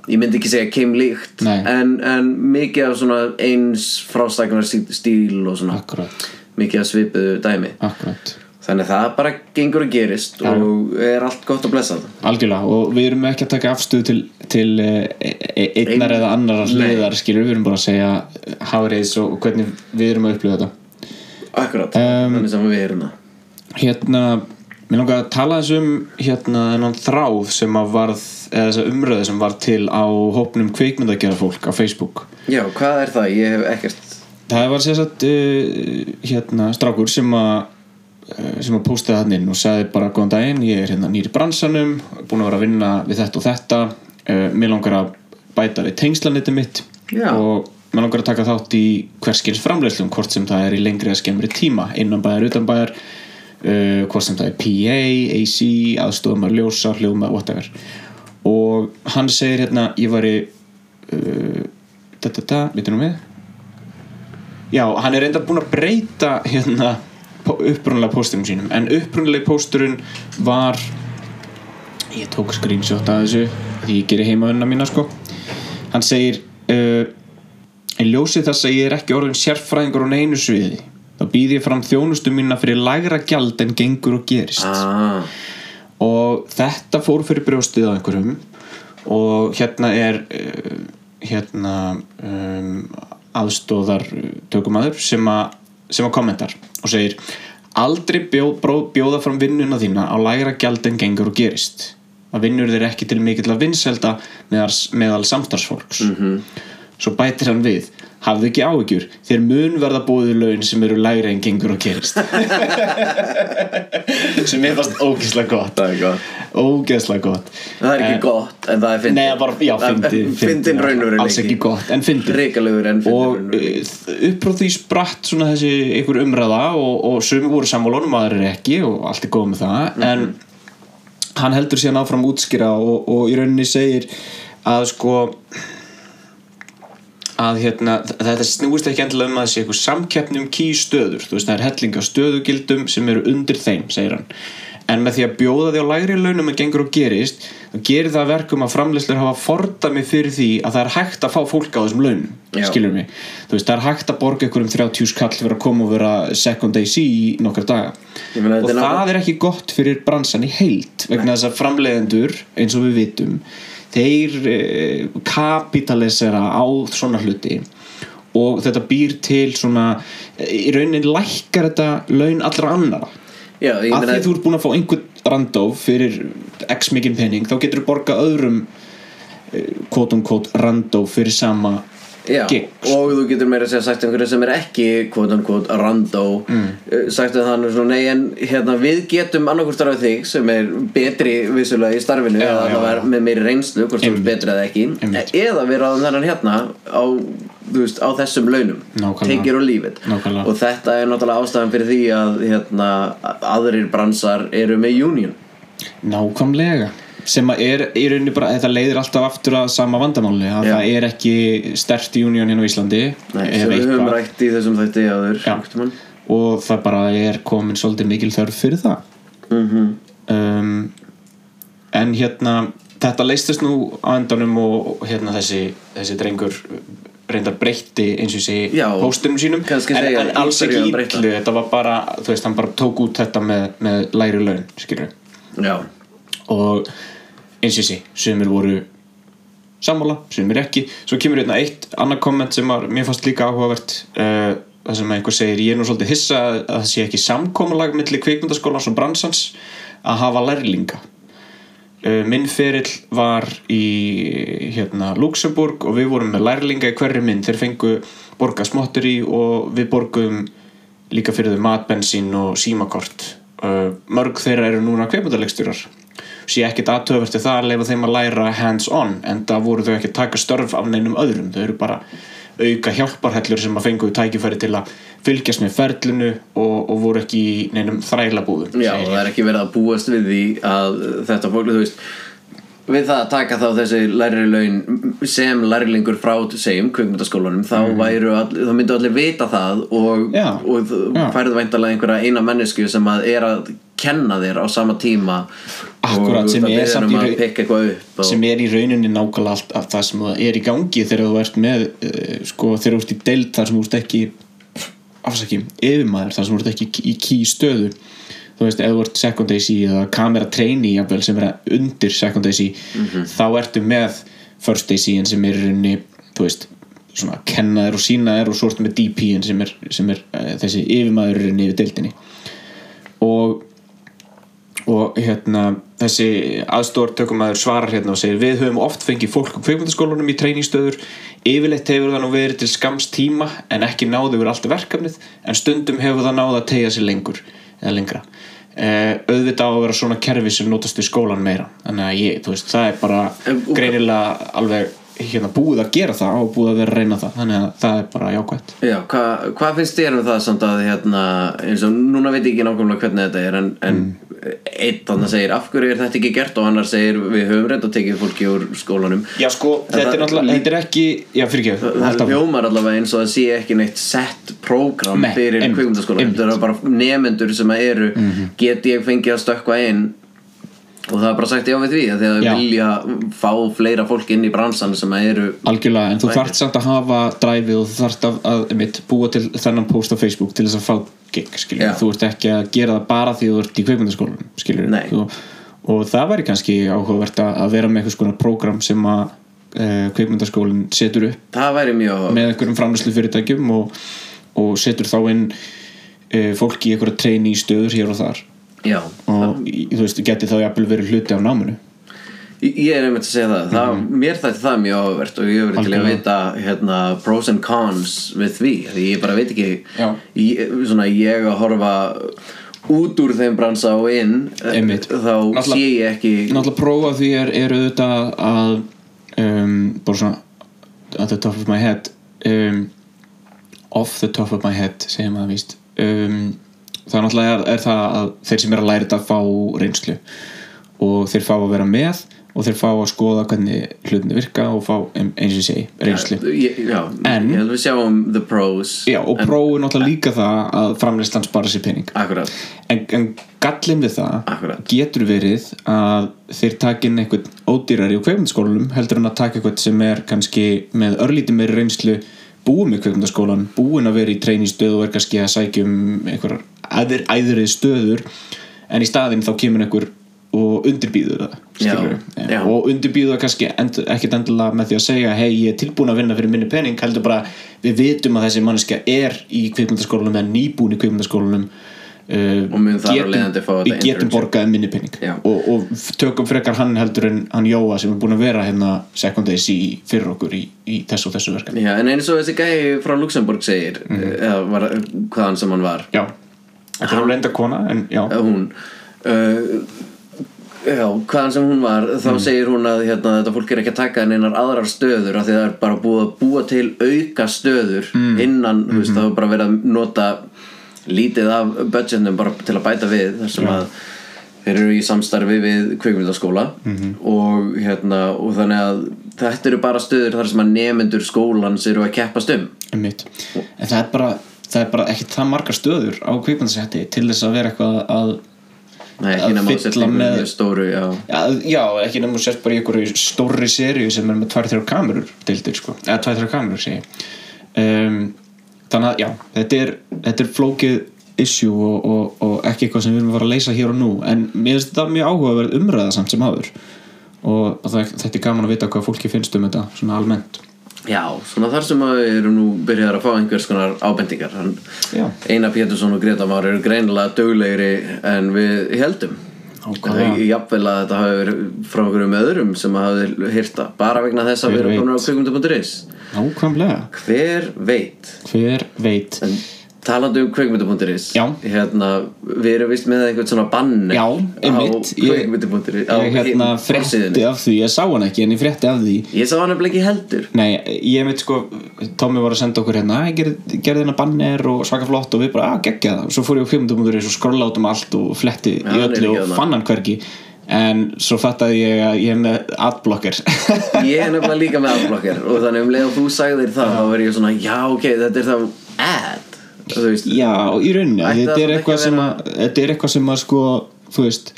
Speaker 2: ég myndi ekki segja keimlíkt
Speaker 1: Nei.
Speaker 2: en, en mikið af svona eins frástaknar stíl og svona
Speaker 1: akkurat,
Speaker 2: mikið af svipuðu dæmi
Speaker 1: akkurat
Speaker 2: þannig að það bara gengur og gerist og er allt gott að blessa það
Speaker 1: Algjörlega og við erum ekki að taka afstöðu til, til eh, e- einnar
Speaker 2: Ein-
Speaker 1: eða annar
Speaker 2: Nei.
Speaker 1: hliðar skilur, við erum bara að segja háriðis og hvernig við erum að upplifa þetta
Speaker 2: akkurat,
Speaker 1: Um,
Speaker 2: þannig sem við erum það
Speaker 1: Hérna, mér langar að tala þess um hérna þennan þráð sem að varð, eða þessa umröðu sem varð til á hópnum kveikmyndagjara fólk á Facebook
Speaker 2: já, hvað er það? ég hef ekkert
Speaker 1: Það var sérsagt uh, hérna strákur sem að eh, sem að postaði hann inn og sagði bara góðan daginn, ég er hérna nýri bransanum búin að vera að vinna við þetta og þetta uh, mér langar að bæta við tengslaniti mitt
Speaker 2: Já.
Speaker 1: og mér langar að taka þátt í hverskils framleyslum hvort sem það er í lengri að skemmri tíma innan bæjar, utan bæjar uh, hvort sem það er PA, AC aðstofum að ljósa, hljóma, whatever og hann segir hérna, ég væri uh, da da da, bitur nú við já, hann er enda búinn að breyta hérna po- upprunalega pósturum sínum en upprunalegi pósturinn var ég tók screenshot af þessu því ég gerir heimaunna mína sko hann segir uh, En ljósið þess að ég er ekki orðin sérfræðingur á neinu sviði þá býð ég fram þjónustu mína fyrir lægra gjald en gengur og gerist
Speaker 2: Ah,
Speaker 1: og þetta fór fyrir brjóstið á einhverjum og hérna er uh, hérna um, aðstóðar tökumæður sem að, sem að kommentar og segir aldrei bjó, bró, bjóða fram vinnuna þína á lægra gjald en gengur og gerist að vinnur þeir ekki til mikill að vinselda meðal, meðal samstarfsfólks -hmm. svo bætir hann við hafðu ekki áhyggjur, þér mun verða bóðið laun sem eru lægra en gengur og gerist sem ég fast ógislega gott
Speaker 2: það er gott
Speaker 1: ógeðslega gott
Speaker 2: Það er ekki gott, en það er fyndið
Speaker 1: Nei, bara, já, fyndi
Speaker 2: Fyndin raunveruleiki
Speaker 1: Alls ekki gott, en fyndi
Speaker 2: Ríkalegur en fyndin
Speaker 1: Og
Speaker 2: raunveruleiki
Speaker 1: eh, upp frá því spratt svona þessi einhver umræða og, og sumi voru sammálunum, maður er ekki og allt er góð með það En hann heldur síðan áfram útskýra og, og í rauninni segir að sko að hérna, þetta snúist ekki endilega um að það sé eitthvað samkeppni um kýstöður þú veist það er helling af stöðugildum sem eru undir þeim, segir hann en með því að bjóða því á lægri launum en gengur og gerist þá gerir það að verkum að framleyslur hafa fordami fyrir því að það er hægt að fá fólk á þessum launum,
Speaker 2: Já.
Speaker 1: skilur mig þú veist það er hægt að borga einhverjum 30 skall fyrir að koma og vera second AC í nokkar daga
Speaker 2: Ég meina,
Speaker 1: og
Speaker 2: þetta er náttúrulega-
Speaker 1: það er ekki gott fyrir bransan í heilt vegna þess að framleiðendur eins og við vitum þeir eh, kapitalisera á svona hluti og þetta býr til svona eh, í raunin lækkar þetta laun allra annara
Speaker 2: Já, ég
Speaker 1: að því
Speaker 2: meina
Speaker 1: þú ert búin að fá einhvern randóf fyrir x mikinn pening þá getur þú borgað öðrum eh, quote on quote randóf fyrir sama
Speaker 2: Já,
Speaker 1: gig
Speaker 2: og þú getur meira að segja sagt einhverju sem er ekki kvot on kvot randó mm. sagt að þannig svona nei en hérna við getum annarkvort starfið þig sem er betri vissulega í starfinu eða
Speaker 1: já,
Speaker 2: það var
Speaker 1: já.
Speaker 2: með meiri reynslu hvort þú er
Speaker 1: Einmitt.
Speaker 2: betri eða ekki
Speaker 1: Einmitt.
Speaker 2: eða við ráðum þennan hérna á, þú veist, á þessum launum
Speaker 1: Nákvæmlega.
Speaker 2: take it or leave it
Speaker 1: Nákvæmlega.
Speaker 2: og þetta er náttúrulega ástæðan fyrir því að hérna, aðrir bransar eru með union
Speaker 1: Nákvæmlega sem að er í rauninni bara, þetta leiðir alltaf aftur að sama vandamáli að
Speaker 2: Já.
Speaker 1: það er ekki stert union hérna á Íslandi
Speaker 2: Nei,
Speaker 1: ef
Speaker 2: sem við höfum
Speaker 1: eitthvað.
Speaker 2: rætt í þessum þætti áður
Speaker 1: Já.
Speaker 2: einhvern tímann.
Speaker 1: og það bara er komin svolítið mikil þörf fyrir það
Speaker 2: Mhm.
Speaker 1: um, en hérna þetta leistist nú á endanum og og hérna þessi, þessi drengur reyndar breytti eins og ég segi
Speaker 2: Já,
Speaker 1: póstunum sínum
Speaker 2: kannski
Speaker 1: en,
Speaker 2: segja,
Speaker 1: en alls ekki
Speaker 2: byrjuðu að breyta.
Speaker 1: ítlu þetta var bara, þú veist, hann bara tók út þetta með, með læri laun, skilur
Speaker 2: Já
Speaker 1: og eins og sé, sumir voru sammála, sumir ekki svo kemur hérna eitt annað komment sem var, mér fannst líka áhugavert uh, það sem einhver segir, ég er nú svolítið hissa að að það sé ekki samkomulag milli kveikmyndaskólans og bransans að hafa lærlinga uh, minn ferill var í hérna, Luxemburg og við vorum með lærlinga í hverri mynd, þeir fengu borga smottur í og við borgum líka fyrir þau matbensín og símakort uh, mörg þeirra eru núna kveikmyndaleikstjórar sé ekkert aðtöfvert við það að leifa þeim að læra hands on en það voru þau ekki að taka störf af neinum öðrum, þau eru bara auka hjálparhellur sem að fengu tækifæri til að fylgjast með ferlinu og, og voru ekki í neinum þrælabúðum
Speaker 2: Já,
Speaker 1: segir ég.
Speaker 2: og það er ekki verið að búast við því að þetta fólk, þú veist við það að taka þá þessi læri laun sem lærilingur frá segjum kvikmyndaskólanum, þá væru all, þá myndu allir vita það
Speaker 1: Mhm.
Speaker 2: og,
Speaker 1: Já,
Speaker 2: og þú
Speaker 1: já.
Speaker 2: færðu væntalega einhverja eina mannesku sem að er að kenna þér á sama tíma
Speaker 1: Akkúrat,
Speaker 2: og
Speaker 1: sem
Speaker 2: það
Speaker 1: er
Speaker 2: byrjar
Speaker 1: samt
Speaker 2: um
Speaker 1: í
Speaker 2: að
Speaker 1: raun-
Speaker 2: pikka eitthvað upp og,
Speaker 1: sem er í rauninni nákvæmlega allt af það sem það er í gangi þegar þú ert með uh, sko, þegar þú ert í deild þar sem þú ert ekki afsaki, yfirmaður þar sem þú ert ekki í- í ký stöðu þú veist, ef þú ert second AC eða kamera trainee jafnvel, sem er undir second AC þá ertu með first AC en sem er í rauninni, þú veist svona kenna þér og sína þér og svo ertu með DP en sem er, sem er uh, þessi yfirmaður í rauninni yfir deildinni og og hérna þessi aðstór tökumæður svarar hérna og segir við höfum oft fengið fólk á kveikmyndaskólanum í treyningstöður yfirleitt hefur það nú verið til skamst tíma en ekki náðu verið allt verkefnið en stundum hefur það náðu að tegja sér lengur eða lengra eh, auðvitað á að vera svona kerfi sem notast við skólan meira þannig að ég, þú veist, það er bara
Speaker 2: En- og-
Speaker 1: greinilega alveg hérna búið að gera það og búið að vera að reyna það þannig að það er bara jákvætt
Speaker 2: Já, hva, hvað finnst þér um það samt að hérna, eins og núna veit ég ekki nákvæmlega hvernig þetta er en, en
Speaker 1: Mm.
Speaker 2: einn þannig segir af hverju er þetta ekki gert og annar segir við höfum reynda tekið fólki úr skólanum
Speaker 1: Já sko, þetta er náttúrulega, þetta er ekki Já, fyrir ekki,
Speaker 2: Það- Það hljómar allavega eins og það sé ekki neitt sett prógram
Speaker 1: Nei,
Speaker 2: fyrir
Speaker 1: einmitt,
Speaker 2: kvikmyndaskóla
Speaker 1: einmitt. Mhm.
Speaker 2: Þetta eru bara nefendur sem að eru Get ég fengið að stökkva inn Og það er bara sagt já við því að Þegar
Speaker 1: Já.
Speaker 2: þau vilja fá fleira fólk inn í bransan sem að eru
Speaker 1: Algjörlega, en þú þarft samt að hafa dræfið og þú þarft að, að mitt, búa til þennan post á Facebook til þess að fá gig skilur,
Speaker 2: Já.
Speaker 1: þú ert ekki að gera það bara því þú ert í kveikmyndaskólanum skilur,
Speaker 2: Nei.
Speaker 1: þú, og það væri kannski áhugavert að, að vera með einhvers konar program sem að uh, kveikmyndaskólinn setur upp
Speaker 2: Það væri mjög
Speaker 1: með einhverjum framlæslu fyrirtækjum og, og setur þá inn uh, fólk í einhverja treyni í stöður hér og þar
Speaker 2: Já
Speaker 1: og í, þú veist, geti þá jafnvel verið hluti af náminu
Speaker 2: Ég ég er einmitt að segja það, það Mér þætti það mjög áhverfært og ég verið til að
Speaker 1: Mhm. Algjörlega.
Speaker 2: vita hérna, pros and cons við því því ég bara veit ekki
Speaker 1: Já.
Speaker 2: ég, svona, ég að horfa út úr þeim bransa og inn eh,
Speaker 1: Einmitt.
Speaker 2: þá
Speaker 1: Náttúrulega-
Speaker 2: sé ég ekki
Speaker 1: náttúrulega prófa því er, er auðvitað að um, bara svona at the top of my head um, off the top of my head segir maður víst um, það náttúrulega er, er það að þeir sem er að læra þetta fá reynslu og þeir fá að vera með og þeir fá að skoða hvernig hlutinni virka og fá em, eins og ég segi reynslu
Speaker 2: Ég- Já,
Speaker 1: En-
Speaker 2: ég held við sjáum the pros
Speaker 1: Já, og prófu náttúrulega líka það að framleyslan spara sér pening
Speaker 2: Akkurat,
Speaker 1: en, en gallin við það
Speaker 2: Akkurat.
Speaker 1: getur verið að þeir taka inn einhvern ódýrari úr kveikmyndaskólanum heldur en að taka einhvern sem er kannski með örlítið meiri reynslu búin með kveikmyndaskólan, búin að vera í treynistöð og er kannski að sækja um einhverjar æðir, æðrið stöður en í staðinn þá kemur einhver og undirbýður það skilurðu.
Speaker 2: Já, já.
Speaker 1: og undirbýður það kannski end, ekkit endilega með því að segja hei ég er tilbúin að vinna fyrir minni pening heldur bara við vitum að þessi manneskja er í kveikmyndaskólanum eða nýbúin í kveikmyndaskólanum uh,
Speaker 2: Og mun þar af leiðandi fá þetta
Speaker 1: við getum
Speaker 2: internship.
Speaker 1: borgaði minni pening
Speaker 2: Já.
Speaker 1: og, og tökum frekar hann heldur en hann Jóa sem er búin að vera hérna sekundeis í fyrir okkur í, í þessu og þessu verkefni
Speaker 2: já, en eins og þessi gæi frá Luxemburg segir
Speaker 1: Mhm.
Speaker 2: eh, eða var, hvaðan sem hann var
Speaker 1: já, þetta er alveg enda kona en já,
Speaker 2: eða hún uh, já, hvaðan sem hún var þá
Speaker 1: Mm.
Speaker 2: segir hún að hérna, þetta fólk er ekki að taka en einar aðrar stöður af því það er bara búið að búa til auka stöður
Speaker 1: Mm.
Speaker 2: innan, þú
Speaker 1: Mm-hmm.
Speaker 2: veist, það er bara verið að nota lítið af budgetnum bara til að bæta við þar sem að þeir eru í samstarfi við kvikmyndaskóla
Speaker 1: Mm-hmm.
Speaker 2: og, hérna, og þannig að þetta eru bara stöður þar sem að nefendur skólans eru að keppast um
Speaker 1: einmitt en það er bara, það er bara ekki það margar stöður á kvikmyndasetti til þess að vera eitthvað að
Speaker 2: Nei,
Speaker 1: Að
Speaker 2: ekki nema þú
Speaker 1: fylla
Speaker 2: sért líka
Speaker 1: með-
Speaker 2: með stóru, já
Speaker 1: Já, já ekki nefnum sérst bara í einhverju stórri seríu sem er með tvær þrjá kamerur deildir sko, eða tvær þrjá kamerur segi ég. um, þannig að já þetta er, þetta er flókið issue og, og, og ekki eitthvað sem við erum að fara að leysa hér og nú, en mér finnst þetta mjög áhugaverð umræða samt sem hafur og það, þetta er gaman að vita hvað fólki finnst um þetta svona almennt
Speaker 2: Já, svona þar sem að við erum nú byrjaðar að fá einhvers konar ábendingar Hann,
Speaker 1: Já.
Speaker 2: Einar Pétursson og Greta Már eru greinilega döglegri en við heldum
Speaker 1: Ákaflega.
Speaker 2: Ég- Jafnvel að þetta hafi verið frá einhverjum öðrum sem hafi hýrta bara vegna þess að
Speaker 1: Hver
Speaker 2: við erum
Speaker 1: veit?
Speaker 2: konar á kvikmyndu.is
Speaker 1: nákvæmlega,
Speaker 2: Hver veit?
Speaker 1: hver veit
Speaker 2: En talandi um kvikmyndu.is
Speaker 1: Já.
Speaker 2: hérna, Við erum vist með einhvern svona bann
Speaker 1: Já, einmitt,
Speaker 2: á
Speaker 1: ég,
Speaker 2: kvikmyndu.is á
Speaker 1: ég hérna
Speaker 2: hin-
Speaker 1: frétti
Speaker 2: forsíðunni.
Speaker 1: af því, ég sá hann ekki en ég frétti af því
Speaker 2: Ég sá hann nefnilega ekki heldur
Speaker 1: Nei, ég veit sko Tommy var að senda okkur hérna "Æ, gerð- gerði hérna banner og svaka flott og við bara, að geggja það svo fór ég á kveimdumuður og skrolla út um allt og fletti í
Speaker 2: hann er
Speaker 1: öllu
Speaker 2: ekki
Speaker 1: og
Speaker 2: þarna.
Speaker 1: fann hann hvergi en svo fattaði ég að ég er með adblocker
Speaker 2: ég er nefnilega líka með adblocker og þannig um leið og þú sagðir það þá verður ég svona, já ok, þetta er þá ad, þú veist
Speaker 1: Já, í rauninni,
Speaker 2: Ætti
Speaker 1: þetta er
Speaker 2: það samt
Speaker 1: eitthvað
Speaker 2: ekki að
Speaker 1: sem að þetta er eitthvað sem að sko, þú veist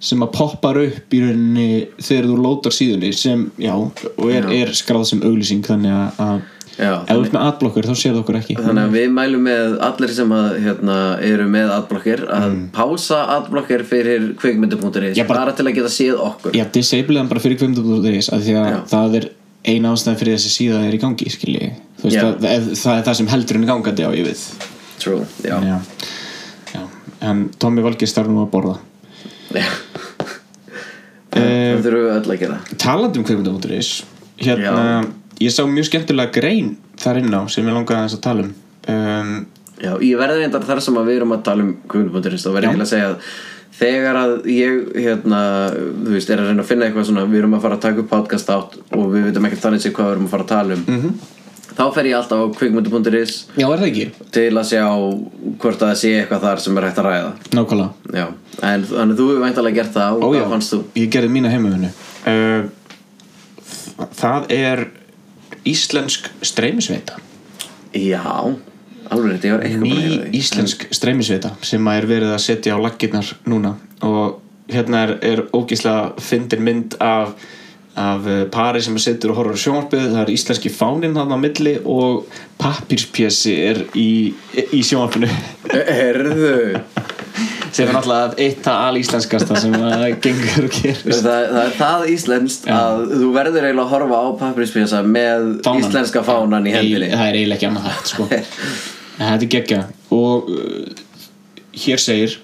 Speaker 1: sem að poppar upp í rauninni þegar þú lótar síðunni sem, já, og er, er skráð sem auglýsing þannig að- að
Speaker 2: Já,
Speaker 1: ef þú ert með adblocker þá séð okkur ekki
Speaker 2: þannig að við mælum með allir sem að, hérna, eru með adblocker að pása adblocker fyrir kvikmyndu.is
Speaker 1: Já, Mm. bara-
Speaker 2: bara til að geta séð okkur
Speaker 1: Já, disableðan bara fyrir kvimdum.is af því að
Speaker 2: Já.
Speaker 1: það er eina ástæðan fyrir þessi síða er í gangi, skilji þú veist,
Speaker 2: Já.
Speaker 1: að, að, það er það sem heldur henni gangandi á ég við
Speaker 2: true, já,
Speaker 1: Já, Já. en Tommy Valgeir starf nú að borða
Speaker 2: já.
Speaker 1: Eh,
Speaker 2: það þurfum við öll að gera
Speaker 1: Talandi um kvimdum.is hérna, ég sá mjög skemmtilega grein þar inn á sem ég langaði aðeins að tala um um,
Speaker 2: Já, ég verði reyndar þar sem að við erum að tala um kvinnupunkturins, þá verði ég eiginlega að segja að þegar að ég, hérna þú veist, er að
Speaker 1: Mhm.
Speaker 2: reyna að finna eitthvað svona, við erum að fara að taka upp podcast átt og við veitum ekkert þannig sér hvað við erum að fara að tala um -hmm. þá þá fer ég alltaf á kvikmyndu.is
Speaker 1: Já, er það ekki?
Speaker 2: til að sjá hvort að það sé eitthvað þar sem er hægt að ræða
Speaker 1: Nákvæmlega
Speaker 2: já, en þannig þú hefur væntalega gert það og
Speaker 1: Ó, já.
Speaker 2: hvað fannst þú?
Speaker 1: Ég gerði mína heimavinu uh, Það er íslensk streymisveita
Speaker 2: já, alveg þetta ég var eitthvað búinn að
Speaker 1: Ný
Speaker 2: heyra því.
Speaker 1: íslensk streymisveita sem að er verið að setja á laggirnar núna og hérna er, er ógíslega fyndin mynd af af eh, pari sem setur og horfur á sjónvarpið það er íslenski fáninn þarna á milli og pappirspjessi er í, í sjónvarpinu
Speaker 2: Herðu
Speaker 1: sem er náttúrulega eitt það alíslenskasta sem að gengur og gerist
Speaker 2: Það, það er það íslenskt að þú verður eiginlega að horfa á papprispjasa með
Speaker 1: Fánan.
Speaker 2: íslenska fánan í hendinni
Speaker 1: Eil- það er eiginlega ekki annað hægt sko. en þetta er geggja og uh, hér segir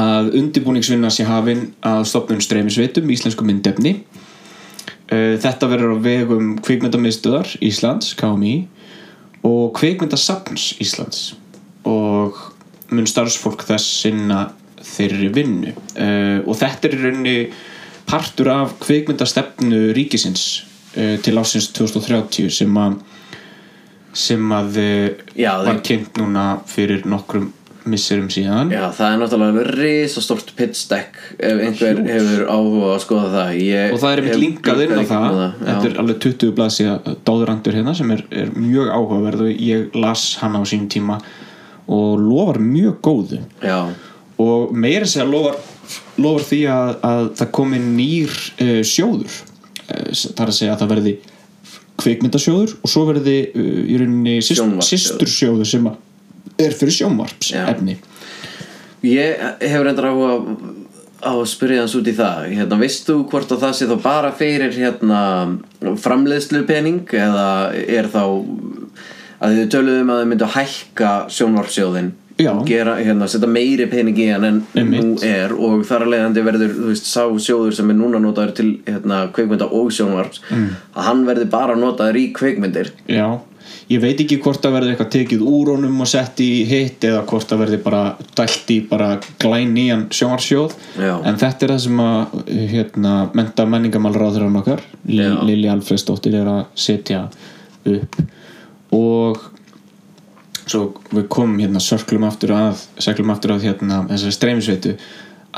Speaker 1: að undirbúningsvinna sé hafin að stopnum streymisveitum í íslensku myndefni uh, þetta verður á vegum kvikmyndamistuðar Íslands, KMI og kvikmyndasafns Íslands og mun starfsfólk þess sinna þeirri vinnu uh, og þetta er í rauninni partur af kvikmyndastefnu ríkisins uh, til ásins 2030 sem að sem að uh,
Speaker 2: Já,
Speaker 1: var
Speaker 2: þeir-
Speaker 1: kynnt núna fyrir nokkrum misserum síðan
Speaker 2: Já, það er náttúrulega alveg risastórt pitstack ef einhver hefur áhuga að skoða það ég,
Speaker 1: og það er einmitt
Speaker 2: hef
Speaker 1: linkað inn á
Speaker 2: líka
Speaker 1: það þetta
Speaker 2: já.
Speaker 1: er alveg 20 blaðs síða dáðurandur hérna sem er, er mjög áhugaverð og ég las hana á sínum tíma og lofar mjög góðu
Speaker 2: já,
Speaker 1: og meira segja lofar, lofar því að, að það komi nýr uh, sjóður uh, það er að segja að það verði kvikmyndasjóður og svo verði uh, í rauninni
Speaker 2: Sjónvarpssjóður.
Speaker 1: sýstur sjóður sem að er fyrir sjónvarps
Speaker 2: Já.
Speaker 1: efni
Speaker 2: ég hefur reyndar áhuga á að spyrja hans út í það hérna, veist þú hvort að það sé þá bara fyrir hérna, framleiðslu pening eða er þá að þið töluðum að þið myndu að hækka sjónvarpsjóðin
Speaker 1: Já.
Speaker 2: og gera, hérna, setja meiri pening í hann en nú
Speaker 1: Einmitt.
Speaker 2: er og þar að leiðandi verður þú veist, sá sjóður sem er núna notaður til hérna, kveikmynda og sjónvarps
Speaker 1: Mm.
Speaker 2: að hann verður bara notaður í kveikmyndir
Speaker 1: já ég veit ekki hvort það verði eitthvað tekið úr honum og sett í hitt eða hvort það verði bara dælt í bara glæn nýjan sjónvarsjóð
Speaker 2: Já.
Speaker 1: en þetta er það sem að uh, hérna, menta menningamálráður án okkar Lil-
Speaker 2: Já.
Speaker 1: Lilja Alfreðsdóttir er að setja upp og svo við komum hérna sörklum aftur að, sörklum aftur að hérna, þessari streymisveitu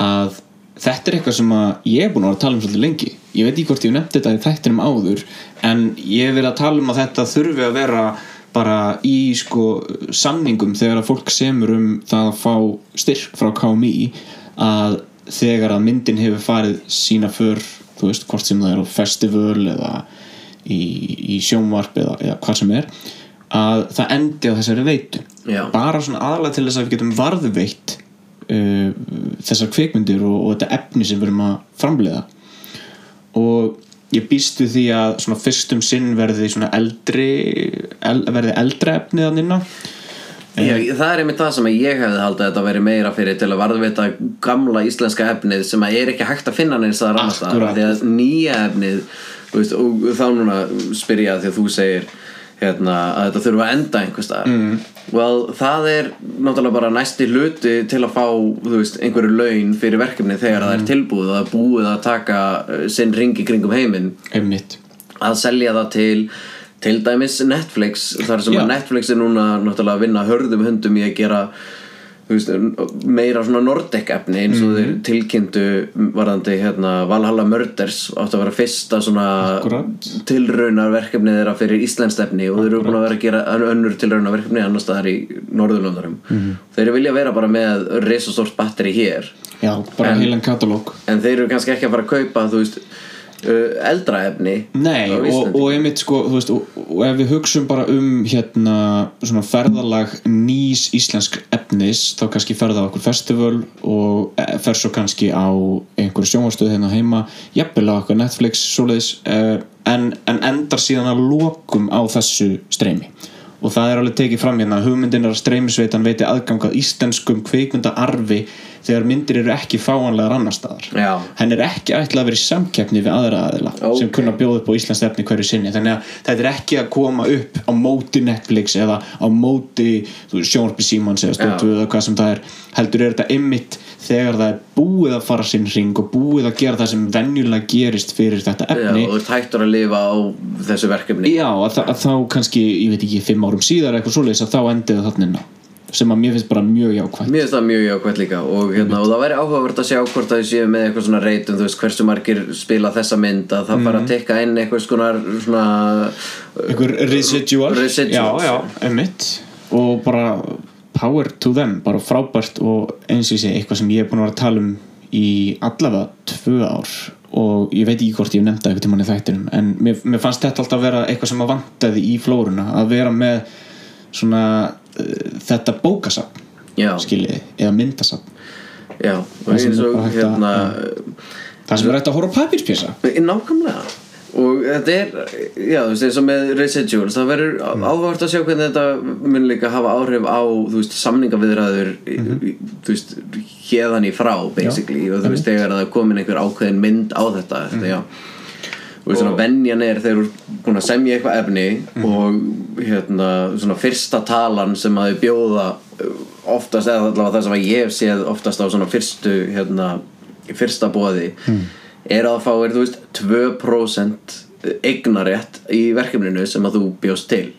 Speaker 1: að þetta er eitthvað sem að ég er búin að vera að tala um svolítið lengi ég veit ekki hvort ég hef nefnt þetta í þættinum áður en ég hef verið að tala um að þetta þurfi að vera bara í sko samningum þegar að fólk semur um það að fá styrk frá KMI að þegar að myndin hefur farið sína för, þú veist, hvort sem það er á festival eða í, í sjónvarp eða, eða hvað sem er að það endi á þessari veitu
Speaker 2: Já.
Speaker 1: bara svona aðalega til þess að við getum varðveitt uh, þessar kvikmyndir og, og þetta efni sem við erum að framleiða og ég býst við því að svona fyrstum sinn verði svona eldri el, verði eldra efni þannig
Speaker 2: Ég, það er einmitt það sem ég hefði haldið að þetta veri meira fyrir til að varðvita gamla íslenska efnið sem að er ekki hægt að finna neins það rannast að
Speaker 1: Akkúrat.
Speaker 2: því að nýja efnið þú veist, og þá núna spyrja því að þú segir hérna, að þetta þurfa að enda einhvers staðar mm. well, það er náttúrulega bara næsti hluti til að fá þú veist, einhverju laun fyrir verkefni þegar það er tilbúið og það er búið að taka eh, sinn ringi kringum heiminn
Speaker 1: einmitt
Speaker 2: að selja það til til dæmis Netflix þar sem
Speaker 1: Já.
Speaker 2: að Netflix er núna náttúrulega að vinna hörðum höndum í að gera þú veist, meira svona Nordic efni eins
Speaker 1: Mhm.
Speaker 2: og þeir tilkynntu varðandi hérna, Valhalla Murders átt að vera fyrsta svona
Speaker 1: Akkúrat.
Speaker 2: tilraunarverkefni þeirra fyrir Íslands efni og þeir eru búin að vera að gera ön- önnur tilraunarverkefni annars staðar í Norðurlöndarum
Speaker 1: Mhm.
Speaker 2: þeir vilja vera bara með risastórt batteri hér
Speaker 1: já, bara heilan katalóg
Speaker 2: en þeir eru kannski ekki að fara að kaupa þú veist uh, eldra efni
Speaker 1: Nei,
Speaker 2: á
Speaker 1: og,
Speaker 2: Íslandi.
Speaker 1: og einmitt sko þú veist, og, og ef við hugsum bara um hérna svona ferðalag nýs íslensk efnis þá kannski ferða á okkur festival og eh, fer svo kannski á einhverju sjónvarstöð hérna heima jafnvel á okkur Netflix, svoleiðis eh, en, en endar síðan að lokum á þessu streymi og það er alveg tekið fram hérna hugmyndin er að streymisveitan veiti aðgang að íslenskum kveikmyndaarfi þegar myndir eru ekki fáanlegar annar staðar
Speaker 2: Já.
Speaker 1: henn er ekki ætlað að vera í samkeppni við aðra aðila
Speaker 2: Ókei.
Speaker 1: sem kunna að bjóða upp á Íslands efni hverju sinni þannig að þetta er ekki að koma upp á móti Netflix eða á móti sjónarpi Simons eða
Speaker 2: Já.
Speaker 1: stóttu eða hvað sem það er heldur er þetta ymmit þegar það er búið að fara sinn ring og búið að gera það sem venjulega gerist fyrir þetta
Speaker 2: Já,
Speaker 1: efni
Speaker 2: og þú ert hættur að lifa á þessu verkefni
Speaker 1: Já, að, þa- að þá kannski, ég veit ekki, fimm árum síðar eitthvað svoleiðis að þá endiði þarna inn á sem að mér finnst bara mjög jákvæmt
Speaker 2: Mér finnst það mjög jákvæmt líka og, hérna, og það væri áhugavert að sjá hvort að þau séu með eitthvað svona reytum, þú veist hversu margir spila þessa mynd að það fara
Speaker 1: Mhm.
Speaker 2: að tekka inn eitthvað skonar svona
Speaker 1: einhver residual,
Speaker 2: Residuals.
Speaker 1: Já, já, einmitt og bara power to them, bara frábært og eins og ég segi, eitthvað sem ég er búin að vera að tala um í allavega tvö ár og ég veit ekki hvort ég hef nefnda eitthvað tímann í þættinum en mér, mér fannst þetta alltaf að vera eitthvað sem að vantaði í flóruna að vera með svona uh, þetta bókasafn
Speaker 2: já,
Speaker 1: skiljiði, eða myndasafn
Speaker 2: já, og
Speaker 1: Það sem
Speaker 2: eins
Speaker 1: er
Speaker 2: og
Speaker 1: bara hægt að-
Speaker 2: hérna
Speaker 1: það sem er hægt að horfa á papírspjasa
Speaker 2: nákvæmlega og þetta er, já þú veist eins og með residuals, það verður mm. áhugavert að sjá hvernig þetta mun líka hafa áhrif á þú veist samningaviðræður þú veist hérðan í frá basically og þú veist þegar það er komin einhver ákveðin mynd á þetta, þetta já og svona venjan er þegar þú ert búin að semja eitthvað efni
Speaker 1: Mhm.
Speaker 2: og hérna svona fyrsta talan sem að þau bjóða uh, oftast eða allavega það sem að ég hef séð oftast á svona fyrstu hérna fyrsta bóði
Speaker 1: Hmm.
Speaker 2: er að fá er þú veist 2% eignarétt í verkefninu sem að þú bjóst til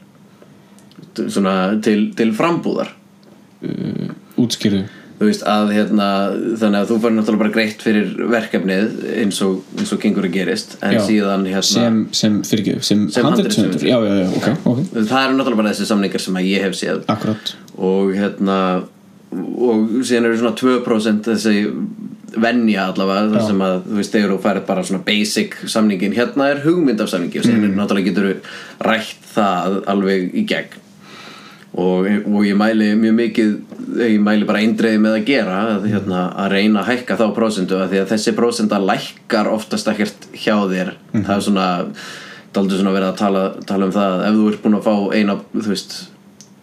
Speaker 2: T- svona til, til frambúðar
Speaker 1: útskýrðu
Speaker 2: þú veist að hérna þannig að þú fær náttúrulega bara greitt fyrir verkefnið eins og, eins og gengur að gerist en
Speaker 1: Já.
Speaker 2: síðan hérna
Speaker 1: sem, sem, fyrirgjöf, sem,
Speaker 2: Sem
Speaker 1: sem handriðsöndur
Speaker 2: handritshöfundur.
Speaker 1: já, já, já, ok, ok,
Speaker 2: það eru náttúrulega bara þessi samningar sem að ég hef séð
Speaker 1: akkurat
Speaker 2: og hérna og síðan eru svona 2% þessi venja allavega þar sem að þú veist þegar þú færið bara svona basic samningin hérna er hugmynd af samningi og síðan náttúrulega getur þú rætt það alveg í gegn og, og ég mæli mjög mikið ég mæli bara eindreiði með að gera að, hérna, að reyna að hækka þá prósentu af því að þessi prósenta lækkar oftast ekkert hjá þér það er svona daldur svona verið að tala, tala um það að ef þú ert búin að fá eina þú veist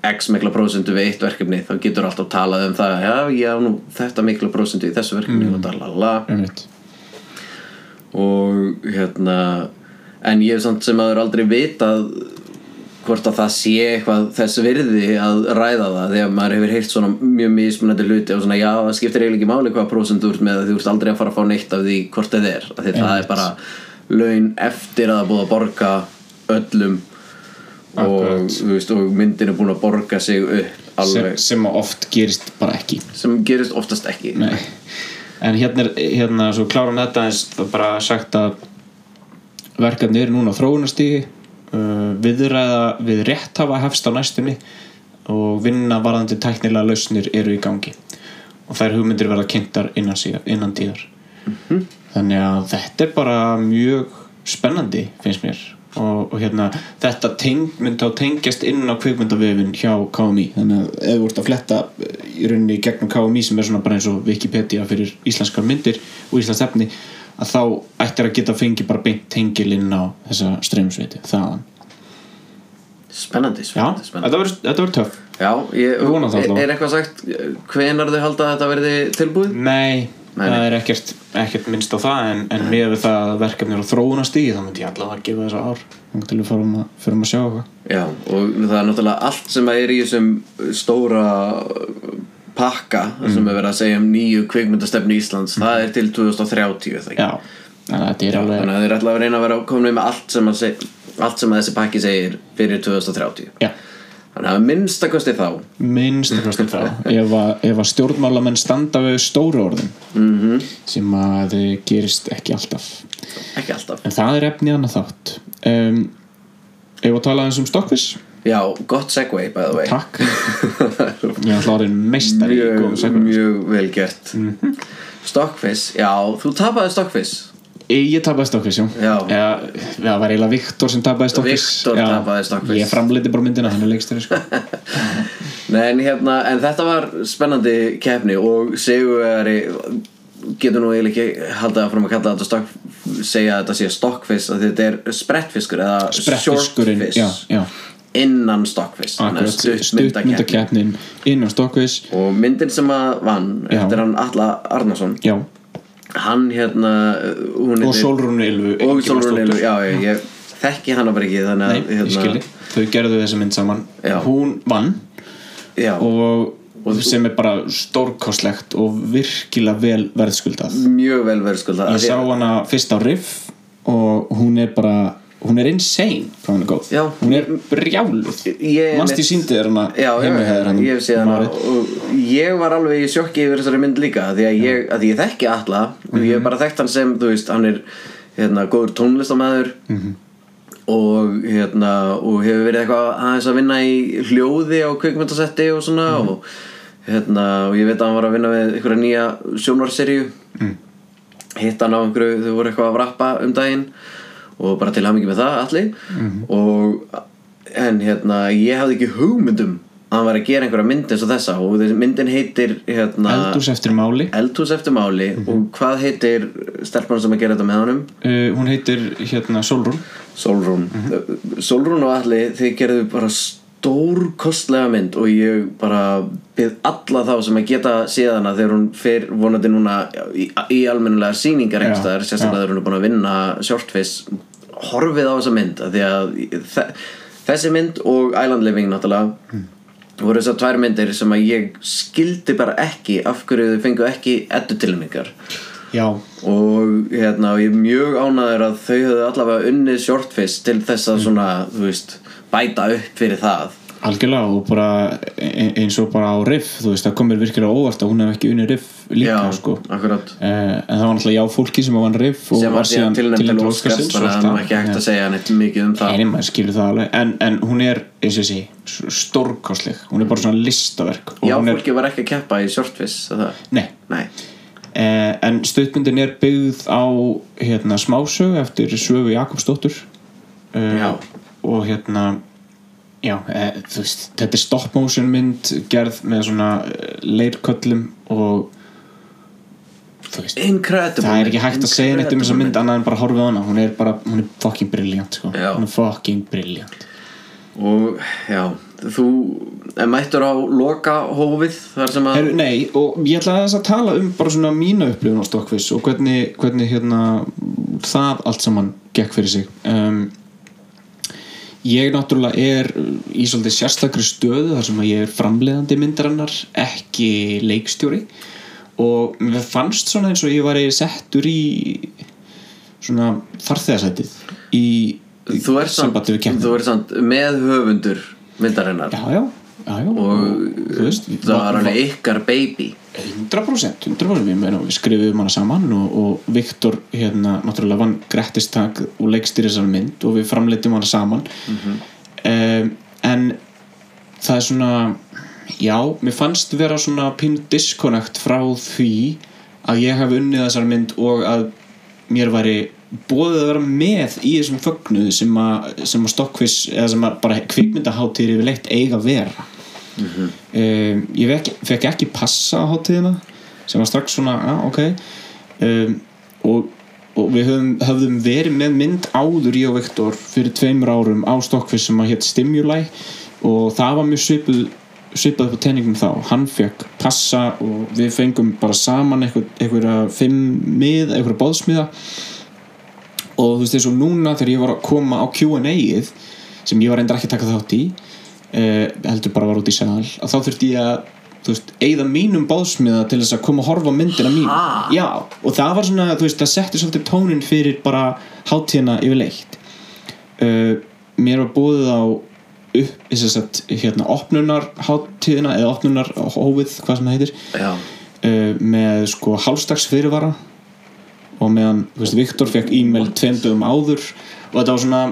Speaker 2: x mikla prósentu við eitt verkefni þá getur alltaf talað um það já, já, nú þetta mikla prósentu í þessu verkefni og dalala
Speaker 1: einmitt,
Speaker 2: og hérna en ég hef samt sem aður aldrei vitað hvort að það sé eitthvað þess virði að ræða það þegar maður hefur heyrt svona mjög mismunandi hluti og svona já það skiptir eiginlega ekki máli hvaða prósent þú ert með þú ert aldrei að fara að fá neitt af því hvort þið er af því það er bara laun eftir að það er búið að borga öllum og,
Speaker 1: Akkurat.
Speaker 2: þú veist, og myndin er búin að borga sig upp
Speaker 1: sem,
Speaker 2: alveg sem,
Speaker 1: sem að oft gerist bara ekki
Speaker 2: gerist oftast ekki
Speaker 1: Nei. en hérna, er- hérna svo klárum þetta eins það er bara sagt að verkefni eru núna á þróunastígi uh, viðræða við rétt hafa hefst á næstunni og vinna varðandi tæknilega lausnir eru í gangi og þær hugmyndir verða kynntar innan, síðar, innan tíðar þannig að þetta er bara mjög spennandi finnst mér og, og hérna þetta teng, myndi á tengjast inn á kvikmyndavefin hjá KMI þannig að ef þú ert að fletta eh, í rauninni í gegnum KMI sem er svona bara eins og Wikipedia fyrir íslenskar myndir og íslensk efni að þá ættir að geta fengið bara beint tengil inn á þessa streymsveiti þaðan
Speaker 2: spennandi,
Speaker 1: Já,
Speaker 2: spennandi, spennandi
Speaker 1: þetta verður- þetta verður töff
Speaker 2: Já, ég,
Speaker 1: Ég vona það
Speaker 2: er,
Speaker 1: allavega.
Speaker 2: er eitthvað sagt hvenar þau halda að þetta verði tilbúið?
Speaker 1: Nei,
Speaker 2: Nei,
Speaker 1: það
Speaker 2: nei.
Speaker 1: er ekkert, ekkert minnst á það en, en með við það að verkefni eru að þróunast í þá myndi ég allavega að gefa þessa ár þannig til við förum að, förum að sjá eitthvað
Speaker 2: Já, og það er náttúrulega allt sem er í þessum stóra uh, pakka sem er verið að segja um nýju kvikmyndastefni Íslands það er til 2030 er það ekki?
Speaker 1: Já, þannig að þetta er alveg
Speaker 2: Þannig að þeir ætla að reyna að vera komnið með allt sem, að seg, allt sem að þessi pakki segir fyrir 2030
Speaker 1: Já,
Speaker 2: Þannig að minnstakosti þá
Speaker 1: minnst að kostum það ef að, ef að stjórnmálamenn standa við stóru orðin
Speaker 2: Mhm.
Speaker 1: -hmm. sem að eh, gerist ekki alltaf
Speaker 2: ekki alltaf
Speaker 1: en það er efni annað þátt um, Ef að tala eins um Stokkvis
Speaker 2: Já, gott segway by the way
Speaker 1: Takk Ég ætla að reyna meistari í góðum
Speaker 2: Mjög,
Speaker 1: sögum.
Speaker 2: mjög vel gert mm Stockfish, já, þú tapaði Stockfish
Speaker 1: Ég tapaði Stokkvis, já
Speaker 2: Já.
Speaker 1: Eða, Það var eiginlega Viktor sem tapaði Stokkvis
Speaker 2: Viktor tapaði Stokkvis.
Speaker 1: Ég framleiti bara myndina, hann er leikstari sko.
Speaker 2: Nei, en, hérna, en þetta var spennandi keppni og seguveri getur nú eiginlega ekki haldið að fram að kalla þetta stokk, segja að þetta sé stokkfisk að þetta er sprettfiskur eða
Speaker 1: Sprettfiskurinn
Speaker 2: shortfish
Speaker 1: já, já.
Speaker 2: innan Stockfish þannig að
Speaker 1: Akkurat,
Speaker 2: stuttmyndakeppni.
Speaker 1: stuttmyndakeppnin innan Stokkvís
Speaker 2: og myndin sem að vann
Speaker 1: Já.
Speaker 2: eftir hann Alla Arnason
Speaker 1: Já,
Speaker 2: hann hérna uh, hún
Speaker 1: og
Speaker 2: heitir-
Speaker 1: Sólrún Ylfu
Speaker 2: og
Speaker 1: Ingimarsdóttur.
Speaker 2: Solrún Eilu já, ég, ég þekki hana bara ekki þannig
Speaker 1: Nei,
Speaker 2: að
Speaker 1: ég skilji, þau gerðu þessa mynd saman
Speaker 2: Hérna- Já.
Speaker 1: Hún vann
Speaker 2: já,
Speaker 1: og, sem er bara stórkostlegt og virkilega vel verðskuldað
Speaker 2: mjög vel verið skulda
Speaker 1: Ég sá hana fyrst á Riff og hún er bara hún er insane hvað hún er góð
Speaker 2: Já.
Speaker 1: hún er brjáluð
Speaker 2: Ég-
Speaker 1: mannst ég síndi þér hana
Speaker 2: já, já,
Speaker 1: heimahæðir hann
Speaker 2: ég hef séð hana og ég var alveg í sjokki yfir þessari mynd líka af því að ég, að því ég þekki alla og
Speaker 1: Mhm.
Speaker 2: ég hef bara þekkt hann sem, þú veist, hann er hérna, góður tónlistamæður
Speaker 1: Mhm.
Speaker 2: og hérna og hefur verið eitthvað aðeins að vinna í hljóði á kvikmyndasetti og svona
Speaker 1: Mhm.
Speaker 2: og hérna, og ég veit að hann var að vinna með einhverja nýja sjónvarserju hitt hann á einhverju, þau voru eitthvað að rappa um daginn og bara til hamingi með það allir
Speaker 1: Mhm.
Speaker 2: og en hérna, ég hafði ekki hugmyndum að hann var að gera einhverja mynd eins og þessa og þessi myndin heitir hérna,
Speaker 1: eldús eftir máli Mhm.
Speaker 2: Eldhús eftir máli og hvað heitir stelpan sem að gera þetta með honum
Speaker 1: uh, hún heitir hérna Solrún
Speaker 2: Solrún Solrún og Alli, þið gerðu bara stórkostlega mynd og ég bara byrð alla þá sem að geta séð hana þegar hún fer vonandi núna í, í almennilega sýningar
Speaker 1: Já,
Speaker 2: einhverstaðar, sérstaklega
Speaker 1: já.
Speaker 2: þegar hún er búin að vinna shortface, horfið á þessa mynd af því að þe þessi mynd og Island Living náttúrulega
Speaker 1: Hmm.
Speaker 2: voru þessar tvær myndir sem að ég skildi bara ekki af hverju þau fengu ekki eddu tilmyngar
Speaker 1: já,
Speaker 2: og hérna, og ég er mjög ánæður að þau höfðu allavega unnið shortfish til þess
Speaker 1: Mm.
Speaker 2: að svona, þú veist, bæta upp fyrir það
Speaker 1: algjörlega og bara e- eins og bara á Riff þú veist það komir virkilega óvart að hún hef ekki unni Riff líka sko
Speaker 2: akkurat
Speaker 1: Uh, en það var náttúrulega já fólki sem vann riff og
Speaker 2: sem
Speaker 1: var
Speaker 2: var síðan tilnæmt til
Speaker 1: tilnefnd
Speaker 2: Óskars
Speaker 1: Óskarsins
Speaker 2: þannig
Speaker 1: og allt
Speaker 2: að það
Speaker 1: það.
Speaker 2: er ekki hægt
Speaker 1: Já.
Speaker 2: að segja neitt mikið um það
Speaker 1: Nei, maður skilur það alveg en, en hún er, eins og ég sé, s- stórkostleg hún er bara svona listaverk og
Speaker 2: já,
Speaker 1: hún er,
Speaker 2: fólki var ekki að keppa í shortfish er það?
Speaker 1: nei,
Speaker 2: nei,
Speaker 1: eh, en stuðbundin er byggð á hérna, smásög eftir sögu Jakobsdóttur
Speaker 2: Já.
Speaker 1: uh, og hérna já, eh, þú veist, þetta er stop motion mynd gerð með svona eh, leirköllum og þú veist,
Speaker 2: incredible
Speaker 1: það er ekki hægt að segja neitt um þessa mynd annað en bara horfið á hana, hún er bara hún er fucking brilliant, sko,
Speaker 2: Já.
Speaker 1: hún er fucking brilliant
Speaker 2: og já, þú er mættur á loka hófið þar sem að
Speaker 1: Heru, nei, og ég ætla þess að tala um bara svona mína upplifun á Stokkviss og hvernig, hvernig hérna það allt saman gekk fyrir sig um, ég náttúrulega er í svolítið sérstakri stöðu þar sem að ég er framleiðandi myndarinnar ekki leikstjóri og mér fannst svona eins og ég var settur í svona farþegasætið í
Speaker 2: þú er samt,
Speaker 1: sambandi við keppnina.
Speaker 2: þú er samt með höfundur myndarinnar
Speaker 1: já, já, já, já og, þú veist
Speaker 2: það var alveg ykkar baby
Speaker 1: 100% 100% við, meina, við skrifum hana saman og, og Viktor hérna náttúrulega vann grættistak og leikstýr þessar mynd og við framleitum hana saman um, en það er svona já, mér fannst vera svona pínu disconnect frá því að ég hef unnið þessar mynd og að mér væri bóðið að vera með í þessum fögnuð sem að, sem að stokkvis eða sem að bara kvikmyndaháttir yfirleitt eiga að vera um, ég fekk, fekk ekki passa á hátíðina sem var strax svona, ah, ok um, og, og við höfum, höfðum verið með mynd áður ég og Viktor fyrir tveimur árum á Stokkvist sem að hétt Stimuli og það var mjög svipuð svipað upp á tenningum þá, hann fekk passa og við fengum bara saman einhver- einhverja fimm mið einhverja bóðsmiða og þú veist eins og núna þegar ég var að koma á Q&A-ið sem ég var reyndar ekki að taka þátt í uh, heldur bara var út í sal að þá þurfti ég að þú veist, eigða mínum báðsmiða til þess að koma að horfa á myndina mín
Speaker 2: Ha?
Speaker 1: já, og það var svona, þú veist, það setti svolítið tónin fyrir bara hátíðina yfirleitt uh, mér var búið á upp, þess að, hérna, opnunar hátíðina, eða opnunar hófið, hvað sem það heitir
Speaker 2: Já,
Speaker 1: uh, með sko hálfstags fyrirvara og meðan, þú veist, Viktor fekk e-mail tveimdöfum áður og þetta var svona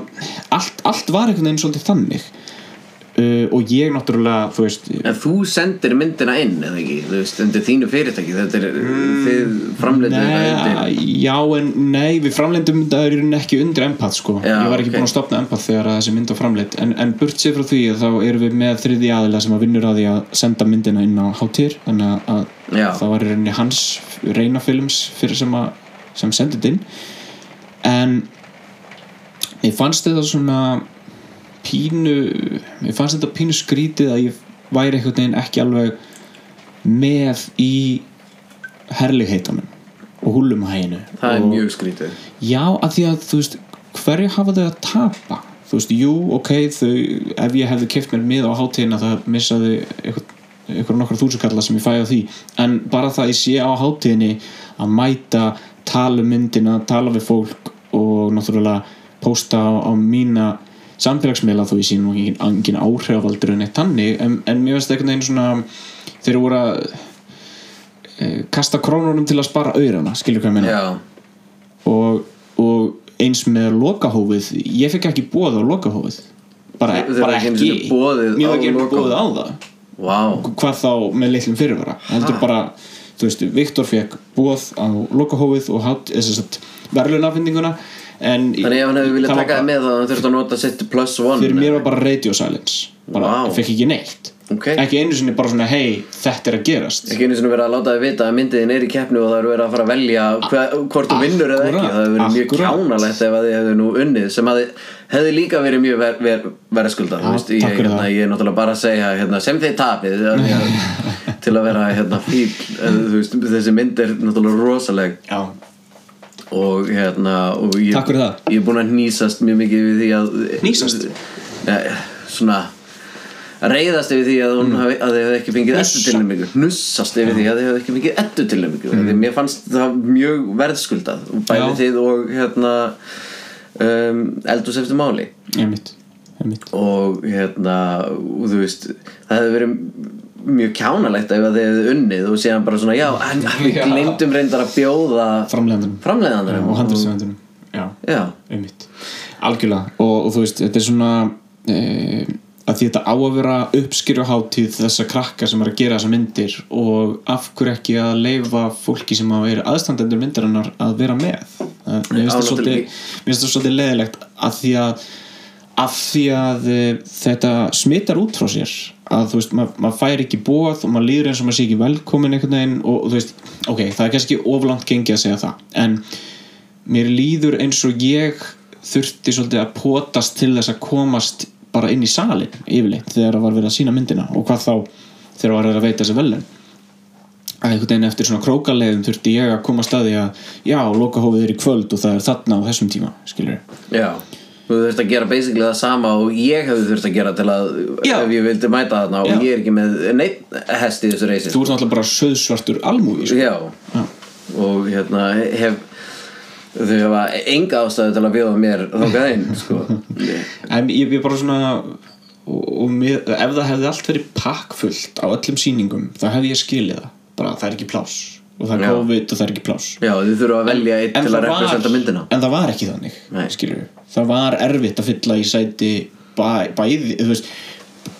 Speaker 1: allt, allt var einhvern veginn svolítið þannig uh, og ég náttúrulega, þú veist
Speaker 2: en þú sendir myndina inn eða ekki, þú veist, undir þínu fyrirtæki þetta er, þið framleitum þetta
Speaker 1: Mm, Nei,
Speaker 2: undir
Speaker 1: já en nei við framleindum þetta er í rauninni ekki undir empath sko.
Speaker 2: Já,
Speaker 1: ég var ekki
Speaker 2: ok.
Speaker 1: búinn að stopna empath þegar að þessi mynd var framleitt en, en burt sér frá því að þá erum við með þriði aðila sem að vinnur að því að senda myndina inn á hátir þannig að- að
Speaker 2: Já.
Speaker 1: það var í rauninni hans reyna films fyrir sem, að- sem sendið inn en ég fannst þetta svona pínu mér fannst þetta pínu skrítið að ég væri einhvern veginn ekki alveg með í herligheitunum og húlumhæginu
Speaker 2: það er
Speaker 1: og,
Speaker 2: mjög skrítið
Speaker 1: já, að því að þú veist hverju hafa þau að tapa þú veist, jú, ok, þau ef ég hefði keft mér mið á hátíðina það missaði einhvern einhver nokkra þúsukalla sem ég fæði á því en bara það ég sé á hátíðinni að mæta, tala um myndina tala við fólk og náttúrulega posta á, á mína samfélagsmiðla þó ég sé nú engin, engin áhrifaldur en eitt tannig en, en mér veist einhvern veginn svona þeir voru að eh, kasta krónunum til að spara auðrana skilur hvað ég meina
Speaker 2: já,
Speaker 1: og, og eins með lokahófið ég fekk ekki bóð á lokahófið bara,
Speaker 2: Þau- þau
Speaker 1: bara
Speaker 2: eru ekki einu
Speaker 1: ekki
Speaker 2: sinni boðið
Speaker 1: mér
Speaker 2: á
Speaker 1: var ekki einu
Speaker 2: lokahófið.
Speaker 1: bóð á það
Speaker 2: vá
Speaker 1: hvað þá með litlum fyrirvara heldur bara, þú veist, Viktor fekk bóð á lokahófið og eh, hát, þess að verðlunafendinguna en
Speaker 2: þannig ef hann hefði viljað
Speaker 1: það var
Speaker 2: taka það
Speaker 1: bara-
Speaker 2: með þá hann þurfti að nota sitt plus one
Speaker 1: fyrir mér var bara radio silence bara,
Speaker 2: Vá.
Speaker 1: fekk ekki neitt
Speaker 2: Ok.
Speaker 1: ekki einu sinni bara svona, hei, þetta er að gerast
Speaker 2: ekki einu sinni verið að láta þið vita að myndiðin er í keppni og það eru verið að fara að velja hva, hvort þú vinnur eða ekki
Speaker 1: Akkúrat,
Speaker 2: það hefur verið mjög
Speaker 1: akkúrat.
Speaker 2: kjánalegt ef að þið hefðu nú unnið sem að þið hefði líka verið mjög ver, ver, verðskuldað þú veist, ég,
Speaker 1: takk fyrir
Speaker 2: hérna,
Speaker 1: það.
Speaker 2: ég er náttúrulega bara að segja hérna, sem þið tapið af því að- til að vera hérna, fíl en, þú veist, þessi mynd er náttúrulega rosaleg
Speaker 1: já,
Speaker 2: og hérna og ég,
Speaker 1: Takk fyrir það.
Speaker 2: ég er búinn að hnýsast mjög mikið við því að
Speaker 1: Hnýsast?
Speaker 2: Nei, svona reyðast yfir því að, mm. hafi, að þið hefði ekki fengið eddu
Speaker 1: Hnussa.
Speaker 2: tilnæmingu hnussast yfir því að þið hefði ekki fengið eddu tilnæmingu mm. því mér fannst það mjög verðskuldað bæði
Speaker 1: Já.
Speaker 2: þið og hérna um, eldus eftir máli
Speaker 1: einmitt, einmitt.
Speaker 2: og hérna og þú veist, það hefði verið mjög kjánalegt ef að þið hefði unnið og síðan bara svona, já, en við
Speaker 1: Já.
Speaker 2: glemdum reyndar að bjóða
Speaker 1: framlegandunum
Speaker 2: framleiðandarum
Speaker 1: og handriðsvendunum já
Speaker 2: Já,
Speaker 1: einmitt, algjörlega og, og þú veist, þetta er svona e, að því þetta á að vera uppskýrjuháttíð þessa krakka sem er að gera þessa myndir og af hverju ekki að leifa fólki sem að vera aðstandendur myndarinnar að vera með það, mér finnst það
Speaker 2: Á,
Speaker 1: svolítið-
Speaker 2: náttúrulega.
Speaker 1: mér finnst það svolítið leðilegt að því að af því að e, þetta smittar út frá sér að þú veist, maður mað fær ekki bóð og maður líður eins og maður sé ekki velkomin einhvern veginn og, og þú veist, ok, það er kannski oflant gengi að segja það, en mér líður eins og ég þurfti svolítið að potast til þess að komast bara inn í salin yfirleitt þegar það var verið að sína myndina og hvað þá þegar var verið að veita þessi velun að einhvern veginn eftir svona krókaleiðum þurfti ég að koma að staði að já, lokahófið er í kvöld og það er þarna á þessum tíma skilur
Speaker 2: Já Þú þurft að gera basically það sama og ég hefði þurft að gera til að
Speaker 1: Já.
Speaker 2: ef ég vildi mæta þarna og
Speaker 1: Já.
Speaker 2: ég er ekki með neitt hest í þessu reysi
Speaker 1: þú ert náttúrulega bara söðsvartur almúi sko.
Speaker 2: Já
Speaker 1: Já.
Speaker 2: og hérna hef þau hefa enga ástæðu til að bjóða mér þókað einn sko.
Speaker 1: en ég er bara svona og, og mér, ef það hefði allt verið pakkfullt á öllum sýningum þá hefði ég skilið það bara það er ekki pláss og það
Speaker 2: Já.
Speaker 1: er COVID og það er ekki pláss
Speaker 2: Já, þau þurfa að velja einn til að
Speaker 1: það var-
Speaker 2: representa myndina
Speaker 1: en það var ekki þannig
Speaker 2: Nei.
Speaker 1: skilurðu. það var erfitt að fylla í sæti bæ, bæði þú veist,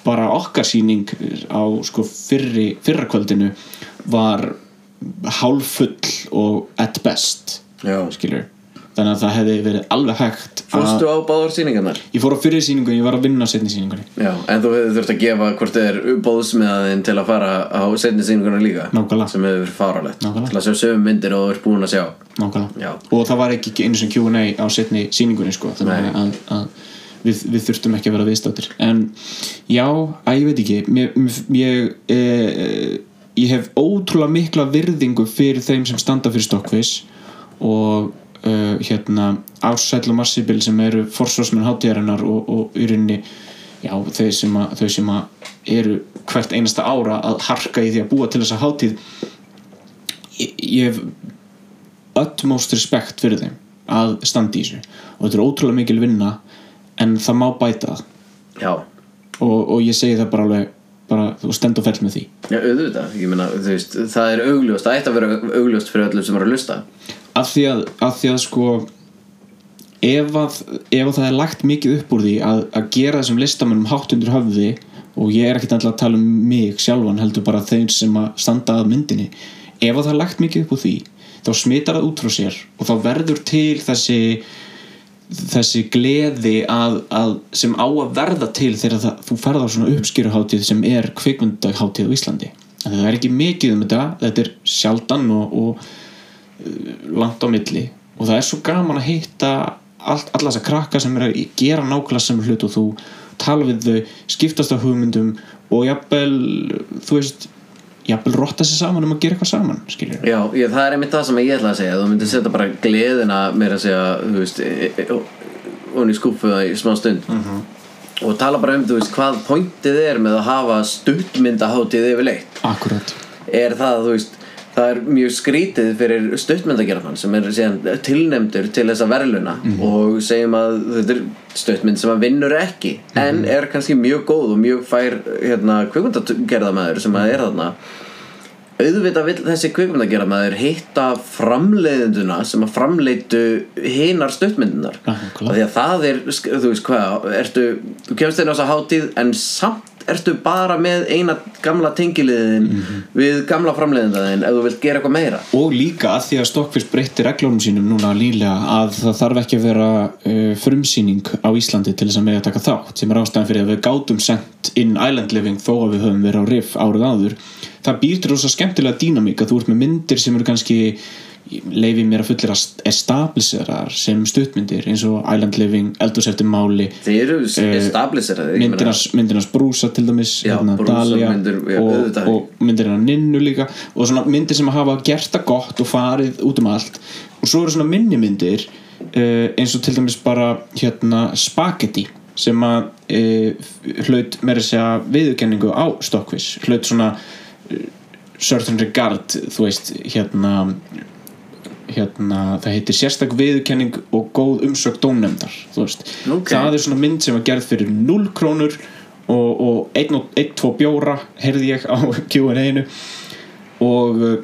Speaker 1: bara okkar sýning á sko, fyrri, fyrra kvöldinu var hálfull og at best
Speaker 2: Já.
Speaker 1: skilur þannig að það hefði verið alveg hægt að,
Speaker 2: Fórstu á báðar sýningarnar?
Speaker 1: ég fór á fyrri sýningu ég var að vinna á setni sýningunni
Speaker 2: Já, en þú hefði þurft að gefa hvort þið er uppbóðsmiðaðinn til að fara á setni sýningarnar líka
Speaker 1: Nákvæmlega.
Speaker 2: sem hefur verið fáralegt
Speaker 1: Nákvæmlega.
Speaker 2: til að sjá sömu myndir og þú er búin að sjá
Speaker 1: Nákvæmlega.
Speaker 2: Já.
Speaker 1: og það var ekki einu sem Q&A á setni sýningunni sko, þannig
Speaker 2: Nei.
Speaker 1: að, að við, við þurftum ekki að vera viðstáttir en já, að ég veit ekki mér, mér- ég, eh, ég hef ótrúlega mikla virðingu fyrir þeim sem standa fyrir Stockfish og uh, hérna Ársæll og Marsibil sem eru forsvarsmenn hátíðarinnar og, og í rauninni já, þau sem, að, þau sem að eru hvert einasta ára að harka í því að búa til þessa hátíð ég, ég hef utmost respekt fyrir þeim að standa í þessu og þetta er ótrúlega mikil vinna en það má bæta það
Speaker 2: Já,
Speaker 1: og, og ég segi það bara alveg bara, þú stend og fell með því
Speaker 2: Já, auðvitað, ég meina, þú veist, það er augljóst, það ætti að vera augljóst fyrir öllum sem eru að lusta
Speaker 1: af því að, af því að sko ef, að, ef að það er lagt mikið upp úr því að, að gera þessum listamönnum hátt undir höfði og ég er ekkert alltaf að tala um mig sjálfan heldur bara þeim sem að standa að myndinni ef að það er lagt mikið upp úr því þá smitar það út frá sér og þá verður til þessi þessi gleði að, að sem á að verða til þegar það, þú ferð á svona uppskýruháttíð sem er kvikmyndaháttíð á Íslandi en það er ekki mikið um þetta þetta er sjaldan og, og uh, langt á milli og það er svo gaman að hitta all, alla þessa krakka sem er að gera nákvæmlega sem hlut og þú tala við þau, skiptast á hugmyndum og jafnvel, þú veist jafnvel rotta sér saman um að gera eitthvað saman skilur
Speaker 2: Já, ég, það er einmitt það sem ég ætla að segja þú myndir setja bara gleðina meira að segja, þú veist e- e- ó- ofan í skúfuða í smá stund og tala bara um, þú veist, hvað pointið er með að hafa stuttmyndahátíð yfirleitt
Speaker 1: akkurat,
Speaker 2: er það, þú veist það er mjög skrítið fyrir stuttmyndagerðan sem er síðan tilnefndur til þessa verðluna og segjum að þetta er stuttmynd sem að vinnur ekki en er kannski mjög góð og mjög fær hérna, kvikmyndagerðamæður sem að er þarna auðvitað vill þessi kvikmyndagerðamæður hitta framleiðenduna sem að framleitu hinar stuttmyndunar
Speaker 1: Já,
Speaker 2: Af
Speaker 1: nákvæmlega.
Speaker 2: því að það er, sk- þú veist hvað ertu, þú kemst inn á þessa hátíð en samt ertu bara með eina gamla tengiliðin
Speaker 1: Mhm.
Speaker 2: við gamla framleiðindaðin ef þú vilt gera eitthvað meira
Speaker 1: og líka að því að Stockfish breytti reglunum sínum núna lílega að það þarf ekki að vera uh, frumsýning á Íslandi til þess að mega taka þátt sem er ástæðan fyrir að við gátum sendt inn Island Living þó að við höfum verið á Riff árið áður það býr til rosa skemmtilega dýnamík að þú ert með myndir sem eru kannski leifi mér að fullir að establisherar sem stuttmyndir eins og Island Living, Eldurs eftir máli
Speaker 2: þeir eru
Speaker 1: Eh,
Speaker 2: establiseraði
Speaker 1: myndinars, myndinars brúsa til dæmis hérna,
Speaker 2: Já, Brúsa
Speaker 1: Dahlia
Speaker 2: myndir, já,
Speaker 1: og,
Speaker 2: auðvitað.
Speaker 1: og myndir hennar Ninnu líka og svona myndir sem hafa gert það gott og farið út um allt og svo eru svona minni myndir uh, eins og til dæmis bara hérna spagetti sem að uh, hlaut meira að segja viðurkenningu á Stockfish hlaut svona uh, Certain Regard, þú veist hérna hérna, það heitir sérstak viðurkenning og góð umsögn dómnefndar þú veist,
Speaker 2: Ok.
Speaker 1: það er svona mynd sem var gerð fyrir 0 krónur og, og 1-2 bjóra heyrði ég á Q&A-inu og uh,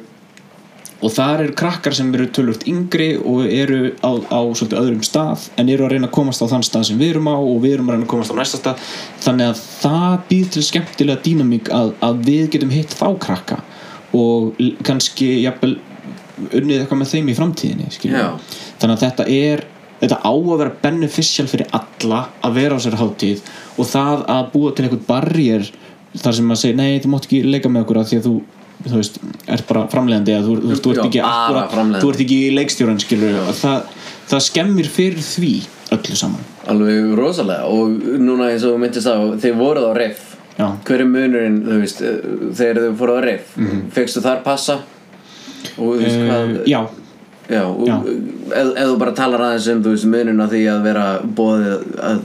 Speaker 1: og þar eru krakkar sem eru tölvöld yngri og eru á, á svolítið öðrum stað en eru að reyna að komast á þann stað sem við erum á og við erum að reyna að komast á næsta stað þannig að það býr til skemmtilega dýnamík að, að við getum hitt þá krakka og l- kannski jafnvel unnið eitthvað með þeim í framtíðinni skilur við.
Speaker 2: Já.
Speaker 1: þannig að þetta er þetta á að vera beneficial fyrir alla að vera á sér hátíð og það að búa til eitthvað barrier þar sem maður segir, nei, þú mátt ekki leika með okkur af því að þú, þú veist, ert bara framleiðandi eða þú, þú, veist, þú ert
Speaker 2: Já,
Speaker 1: ekki
Speaker 2: bara
Speaker 1: akkúrat-
Speaker 2: framleiðandi.
Speaker 1: þú ert ekki leikstjóran skilur það, það skemmir fyrir því öllu saman
Speaker 2: alveg rosalega og núna eins og þú myndist á þeir voruð á ref
Speaker 1: Já.
Speaker 2: hver er munurinn, þú veist eh, þegar þau fóruð á ref mm
Speaker 1: Mhm.
Speaker 2: fegstu þar passa og þú veist hvað
Speaker 1: uh, já,
Speaker 2: Já, og
Speaker 1: Já.
Speaker 2: Ef, ef þú bara talar aðeins um þú veist munun á því að vera bóðið að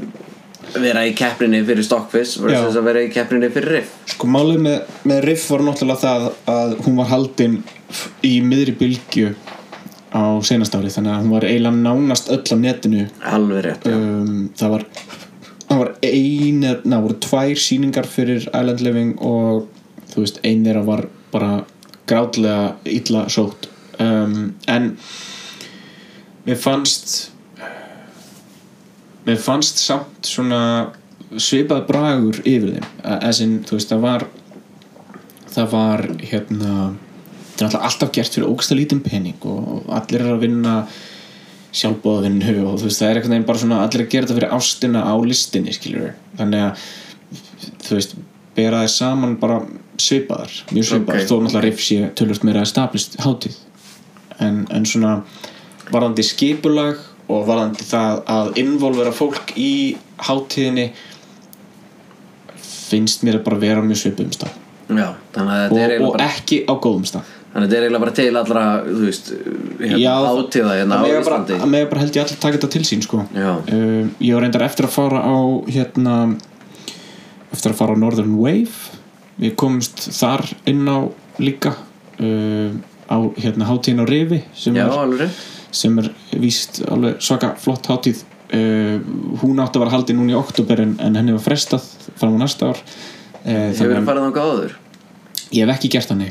Speaker 2: vera í keppninni fyrir Stockfish versus
Speaker 1: Já.
Speaker 2: að vera í keppninni fyrir Riff
Speaker 1: sko málið með, með Riff var náttúrulega það að hún var haldin f- í miðri bylgju á senastári þannig að hún var eiginlega nánast öll á netinu
Speaker 2: alveg rétt já.
Speaker 1: um, það var það var ein eða- na, voru tvær sýningar fyrir Island Living og þú veist, ein þeirra var bara grátlega illa sótt um, en mér fannst mér fannst samt svona svipað bragur yfir þeim þessin, þú veist, það var það var hérna það er náttúrulega alltaf gert fyrir ógsta lítinn pening og og allir eru að vinna sjálfbóðvinnu og þú veist það er einhvern veginn bara svona allir að gera þetta fyrir ástina á listinni skilur þannig að þú veist bera þeir saman bara svipaðar mjög svipaðar
Speaker 2: Ok.
Speaker 1: þó náttúrulega riff sé tölvöld meira established hátíð en, en svona varðandi skipulag og varðandi það að involvera fólk í hátíðinni finnst mér að bara vera á mjög svipum stað
Speaker 2: já, þannig að
Speaker 1: og,
Speaker 2: þetta er eiginlega
Speaker 1: og
Speaker 2: bara,
Speaker 1: ekki á góðum stað
Speaker 2: þannig að þetta er eiginlega bara til allra þú veist,
Speaker 1: Já,
Speaker 2: hérna, átíða hérna á
Speaker 1: það mega bara-
Speaker 2: Íslandi
Speaker 1: það mega bara held ég allir taka þetta til sín sko.
Speaker 2: Já.
Speaker 1: um, ég var reyndar eftir að fara á hérna eftir að fara á Northern Wave við komumst þar inn á líka um, á hérna hátíðin á Rifi sem
Speaker 2: já,
Speaker 1: er
Speaker 2: alveg rétt
Speaker 1: sem er víst alveg svaka flott hátíð uh, hún átti að vera haldið núna í oktober en, en henni var frestað fram á næsta ár uh,
Speaker 2: hefur verið farið þangað áður
Speaker 1: ég hef ekki gert hann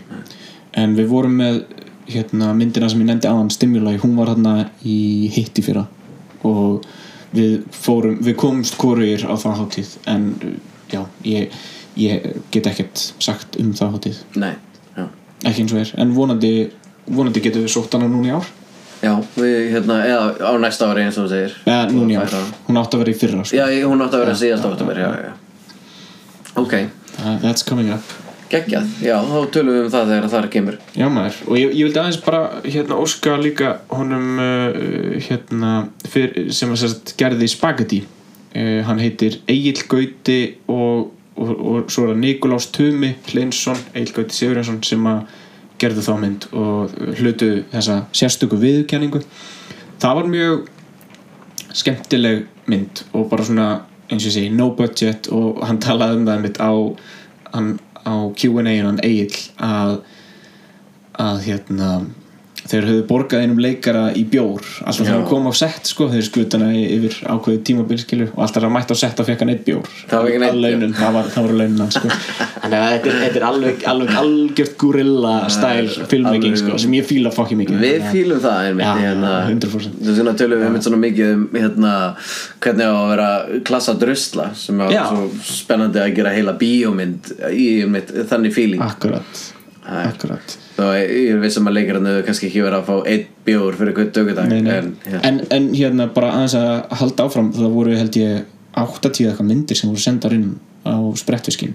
Speaker 1: en við vorum með hérna, myndina sem ég nefndi aðan Stimuli, hún var hann í hitti fyrra og við, fórum, við komumst koruðir á það hátíð en já, ég, ég get ekkert sagt um það hátíð
Speaker 2: nei, já
Speaker 1: ekki eins og er, en vonandi, vonandi getum við sótt hana núna í ár
Speaker 2: já, við hérna, eða á næsta ári eins og þú segir
Speaker 1: eða núna í
Speaker 2: Það
Speaker 1: ár,
Speaker 2: er það.
Speaker 1: hún átti að vera í fyrra sko.
Speaker 2: já, ég- hún átti að vera síðast á oktober já, já, já ok,
Speaker 1: Uh, that's coming up
Speaker 2: Geggjað, já, þá tölum við um það þegar það kemur
Speaker 1: Já maður, og ég, ég vildi aðeins bara hérna óska eh, líka honum uh, hérna fyr, sem að sérst gerði spagetti uh, hann heitir Egil Gauti og, og, og svo er það Nikolás Tumi Hlinsson, Egil Gauti Sigurjónsson sem að gerðu þá mynd og hlutu þessa sérstöku viðkenningu það var mjög skemmtileg mynd og bara svona eins og ég segi no budget og hann talaði um það mitt á, hann, á Q&A hann Egil að, að hérna þeir höfðu borgað einum leikara í bjór alltaf þegar
Speaker 2: Já.
Speaker 1: hann kom á sett sko þeir skutana yfir ákveðu tímabilskilu og alltaf þegar hann mætti á sett þá fekk hann eitt bjór
Speaker 2: Það var ekki neitt
Speaker 1: Að launum, það var, það var launin hann sko þannig að þetta er, þetta er alveg, alveg algjört gorilla style filmmaking
Speaker 2: alveg-
Speaker 1: sko sem ég fíla fokki mikið
Speaker 2: Við fýlum það einmitt
Speaker 1: Já,
Speaker 2: hérna,
Speaker 1: 100%.
Speaker 2: Þú veist, tölum við einmitt svona mikið um hérna, hvernig á að vera klassa drusla sem er
Speaker 1: Já.
Speaker 2: svo spennandi að gera heila bíómynd í einmitt, þannig
Speaker 1: Ah.
Speaker 2: fíling
Speaker 1: akkurat,
Speaker 2: Æ.
Speaker 1: akkurat
Speaker 2: Þó ég ég er vissum að leikararnu kannski ekki vera að fá einn bjór fyrir hvern dögudag
Speaker 1: nei, nei.
Speaker 2: En,
Speaker 1: En,
Speaker 2: já.
Speaker 1: en, hérna bara aðeins að halda áfram það voru held ég 80 eitthvað myndir sem voru sendar inn á sprettviskin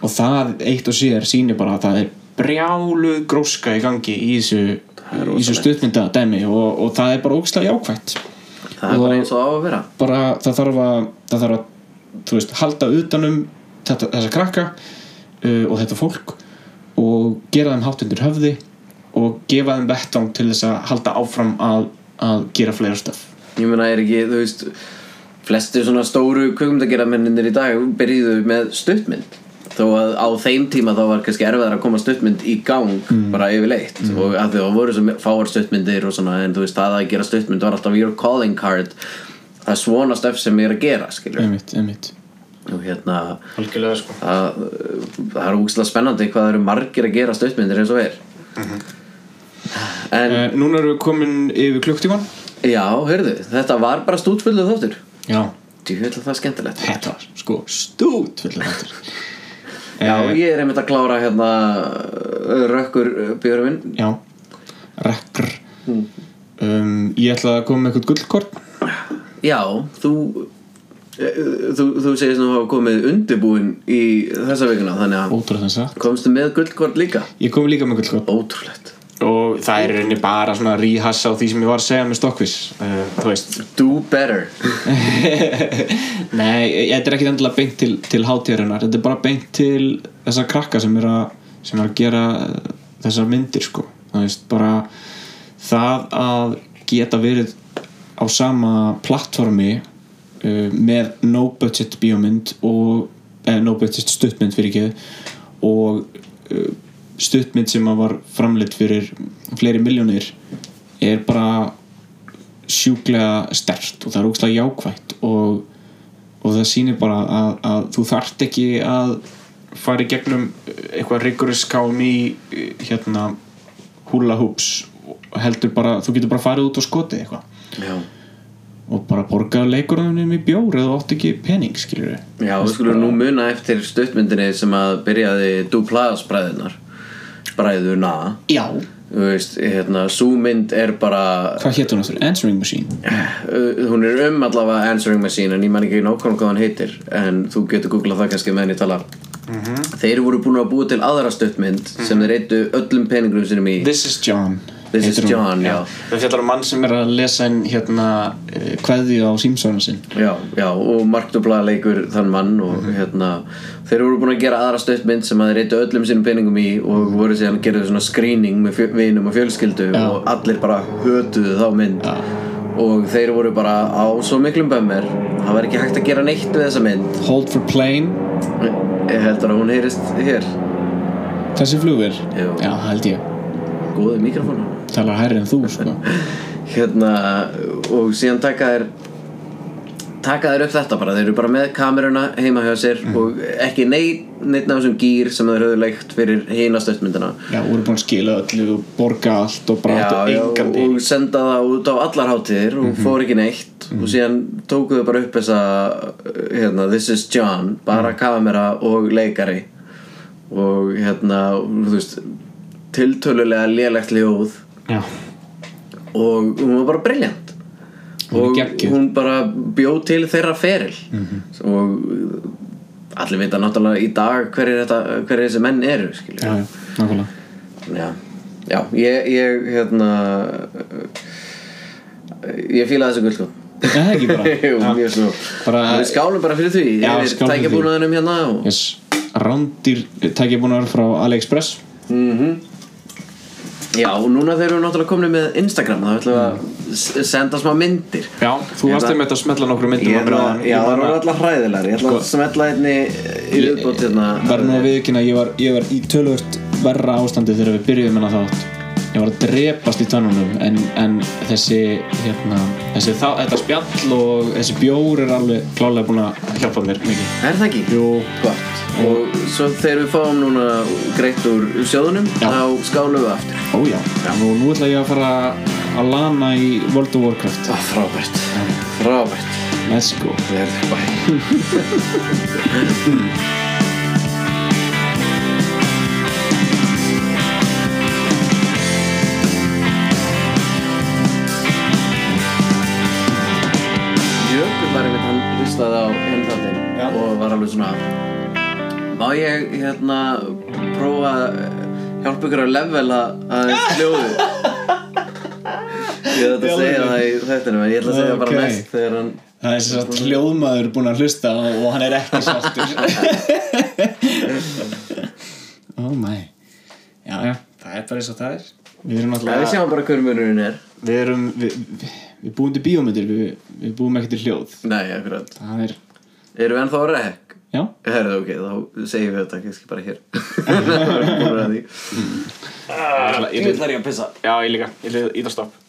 Speaker 1: og það eitt og sér sýnir bara að það er brjálu gróska í gangi í þessu, í þessu stuttmynda dæmi og, og það er bara ógislega jákvætt
Speaker 2: það er bara eins og á að vera
Speaker 1: bara það þarf að, það þarf að þú veist, halda utanum þetta, þessa krakka uh, og þetta fólk og gera þeim hátt undir höfði og gefa þeim vettvang til þess að halda áfram að, að gera fleira stöf
Speaker 2: Ég meina er ekki, þú veist Flestir svona stóru kvökmyndageramenninir í dag byrjuðu með stuttmynd Þó að á þeim tíma þá var kannski erfiðar að koma stuttmynd í gang bara yfirleitt og að því að voru svo fáar stuttmyndir og svona en þú veist það að gera stuttmynd var alltaf your calling card það er svona stöf sem ég er að gera skilur
Speaker 1: einmitt, einmitt
Speaker 2: og hérna
Speaker 1: algjörlega sko
Speaker 2: það, það er úkslega spennandi hvað það eru margir að gera stuttmyndir eins og er
Speaker 1: Mhm.
Speaker 2: en
Speaker 1: uh, núna erum við komin yfir klukktíman
Speaker 2: já, heyrðu, þetta var bara stútfullu þóttur
Speaker 1: já,
Speaker 2: Þú veit það er skemmtilegt
Speaker 1: þetta var sko stút
Speaker 2: Já, ég er einmitt að klára hérna uh, rökkur björfin
Speaker 1: já, rekkur um, ég ætla að koma með eitthvað gullkort
Speaker 2: Já, þú eh, þú, þú segist nú að hafa komið undirbúin í þessa vikuna þannig að
Speaker 1: ótrúð þess að
Speaker 2: komstu með guldkort líka
Speaker 1: ég kom líka með gullkort
Speaker 2: Ótrúlegt
Speaker 1: og það er í rauninni bara svona ríhass á því sem ég var að segja með Stokkvís uh, þú veist
Speaker 2: Do better
Speaker 1: nei, þetta er ekkit endilega beint til, til hátíðarinnar, þetta er bara beint til þessar krakka sem er að, sem er að gera eh, þessar myndir sko þú veist, bara það að geta verið á sama plattformi uh, með no budget bíómynd og eh, no budget stuttmynd fyrir ekki og uh, stuttmynd sem að var framleitt fyrir fleiri miljónir er bara sjúklega stert og það er ógstlega jákvætt og, og það sýnir bara að, að þú þarft ekki að fara í gegnum eitthvað rigorous KMI hérna húla húps heldur bara, þú getur bara farið út og skotið eitthvað
Speaker 2: Já,
Speaker 1: og bara borgaðu leikurunum í bjór eða þú átt ekki pening skilur
Speaker 2: Já sko. við skulum nú muna eftir stuttmyndinni sem að byrjaði Duplaðas bræðunar bræðuna
Speaker 1: Já,
Speaker 2: Þú veist, hérna, sú mynd er bara
Speaker 1: hvað hétt hún aftur? Answering Machine
Speaker 2: Uh, hún er um allavega answering machine en ég man ekki nákvæmlega hvað hann heitir en þú getur googlað það kannski meðan ég tala
Speaker 1: Mhm.
Speaker 2: þeir voru búin að búa til aðra stuttmynd sem þeir eittu öllum peningum sinum í
Speaker 1: This is John
Speaker 2: This is
Speaker 1: heitir hún.
Speaker 2: John, já.
Speaker 1: Það fjallar um mann sem er að lesa inn hérna eh, kveðju á símsónu sinn
Speaker 2: já, já, og Mark Dubla leikur þann mann og
Speaker 1: Mhm.
Speaker 2: hérna þeir voru búin að gera aðra stuttmynd sem að þeir eittu öllum sinum peningum í og
Speaker 1: Mhm.
Speaker 2: voru síðan að gera svona screening með fjö- vinum og fjölskyldu og allir bara hötuðu þá mynd
Speaker 1: Já.
Speaker 2: og þeir voru bara á svo miklum bömmir það var ekki hægt að gera neitt við þessa mynd
Speaker 1: Hold for plane
Speaker 2: Ég heldur að hún heyrist hér
Speaker 1: Þessi flugur?
Speaker 2: Jú.
Speaker 1: Já, það held ég.
Speaker 2: Góði mikrofónu
Speaker 1: Talar hærri en þú, sko.
Speaker 2: Hérna og síðan taka þær taka þær upp þetta bara þeir eru bara með kameruna heima hjá sér
Speaker 1: Mhm.
Speaker 2: og ekki neitt neitt af þessum gýr sem þeir höfðu leikt fyrir hina stöðmyndina
Speaker 1: Já, voru búin að skila öllu og borga allt og bara allt og engandi.
Speaker 2: og senda það út á allar hátíðir og
Speaker 1: Mhm.
Speaker 2: fór ekki neitt og síðan tókuðu bara upp þessa hérna, this is John, bara
Speaker 1: Mhm.
Speaker 2: kamera og leikari og hérna, þú veist tiltölulega lélegt ljóð
Speaker 1: Já,
Speaker 2: og hún var bara briljant
Speaker 1: Hún er
Speaker 2: og
Speaker 1: geggjuð. Mhm.
Speaker 2: hún bara bjó til þeirra feril og allir vita náttúrulega í dag hverjir hver þessi menn eru skilur.
Speaker 1: já, já, nákvæmlega.
Speaker 2: Já, já ég, ég hérna ég fíla þessu guldkótt
Speaker 1: Er það ekki bara?
Speaker 2: Jú, mjög svo
Speaker 1: Bara,
Speaker 2: Við skálum bara fyrir því
Speaker 1: Já,
Speaker 2: Yfir
Speaker 1: skálum fyrir því.
Speaker 2: tækjabúnaðinum hérna og...
Speaker 1: yes. Rándýr tækjabúnar frá AliExpress
Speaker 2: Mhm. Já, og núna þeir eru náttúrulega komni með Instagram þá ætlum við að s- senda smá myndir
Speaker 1: Já, þú
Speaker 2: Ég
Speaker 1: varst
Speaker 2: ætla-
Speaker 1: einmitt að smetla nokkru myndum
Speaker 2: Ég
Speaker 1: af
Speaker 2: ætla,
Speaker 1: bráðan.
Speaker 2: Hérna. já,
Speaker 1: Ég
Speaker 2: það
Speaker 1: bara- Sko-
Speaker 2: eru alltaf hræðilegar Ég ætla að smetla einni í viðbót hérna
Speaker 1: verð nú að viðkynna að ég var, ég var í tölvöld verra ástandi þegar við byrjuðum hennar þátt ég var að drepast í tönnunum en, en þessi, hérna, þessi þá, þetta spjall og þessi bjór er alveg klálega búin að hjálpa mér mikið
Speaker 2: Er það ekki?
Speaker 1: Jú,
Speaker 2: Gott Og svo þegar við fáum núna greitt úr sjóðunum
Speaker 1: Já.
Speaker 2: þá skálum við aftur
Speaker 1: ójá og nú ætla ég að fara að lana í World of Warcraft
Speaker 2: Ó, Frábært Frábært
Speaker 1: Ah, let's go
Speaker 2: Verður bæ Jökul var einmitt, hann hlustaði á hinn
Speaker 1: Já.
Speaker 2: þáttinn og var alveg svona Má ég hérna prófa að hjálpa ykkur að levela að hljóðu Ég ætla
Speaker 1: Já,
Speaker 2: að segja
Speaker 1: alveg.
Speaker 2: það í þættinum en ég ætla að segja
Speaker 1: Ok.
Speaker 2: bara næst þegar hann
Speaker 1: það er þess að hljóðmaður búin að hlusta og, og hann er ekki sáttur oh my já, já, það er bara eins og það er við erum
Speaker 2: Já, við
Speaker 1: náttúrulega
Speaker 2: sjáum bara hver munurinn er
Speaker 1: við erum við, við, við búum til bíómyndir við, við búum ekki til hljóð
Speaker 2: Nei, akkurat
Speaker 1: það er,
Speaker 2: Erum við ennþá að rekk?
Speaker 1: já,
Speaker 2: Herðu, ok, þá segjum við þetta kannski bara hér Það er bara að því
Speaker 1: ég ætla- ég ætla-
Speaker 2: ég að pissa
Speaker 1: já ég líka, ég lefði ítastopp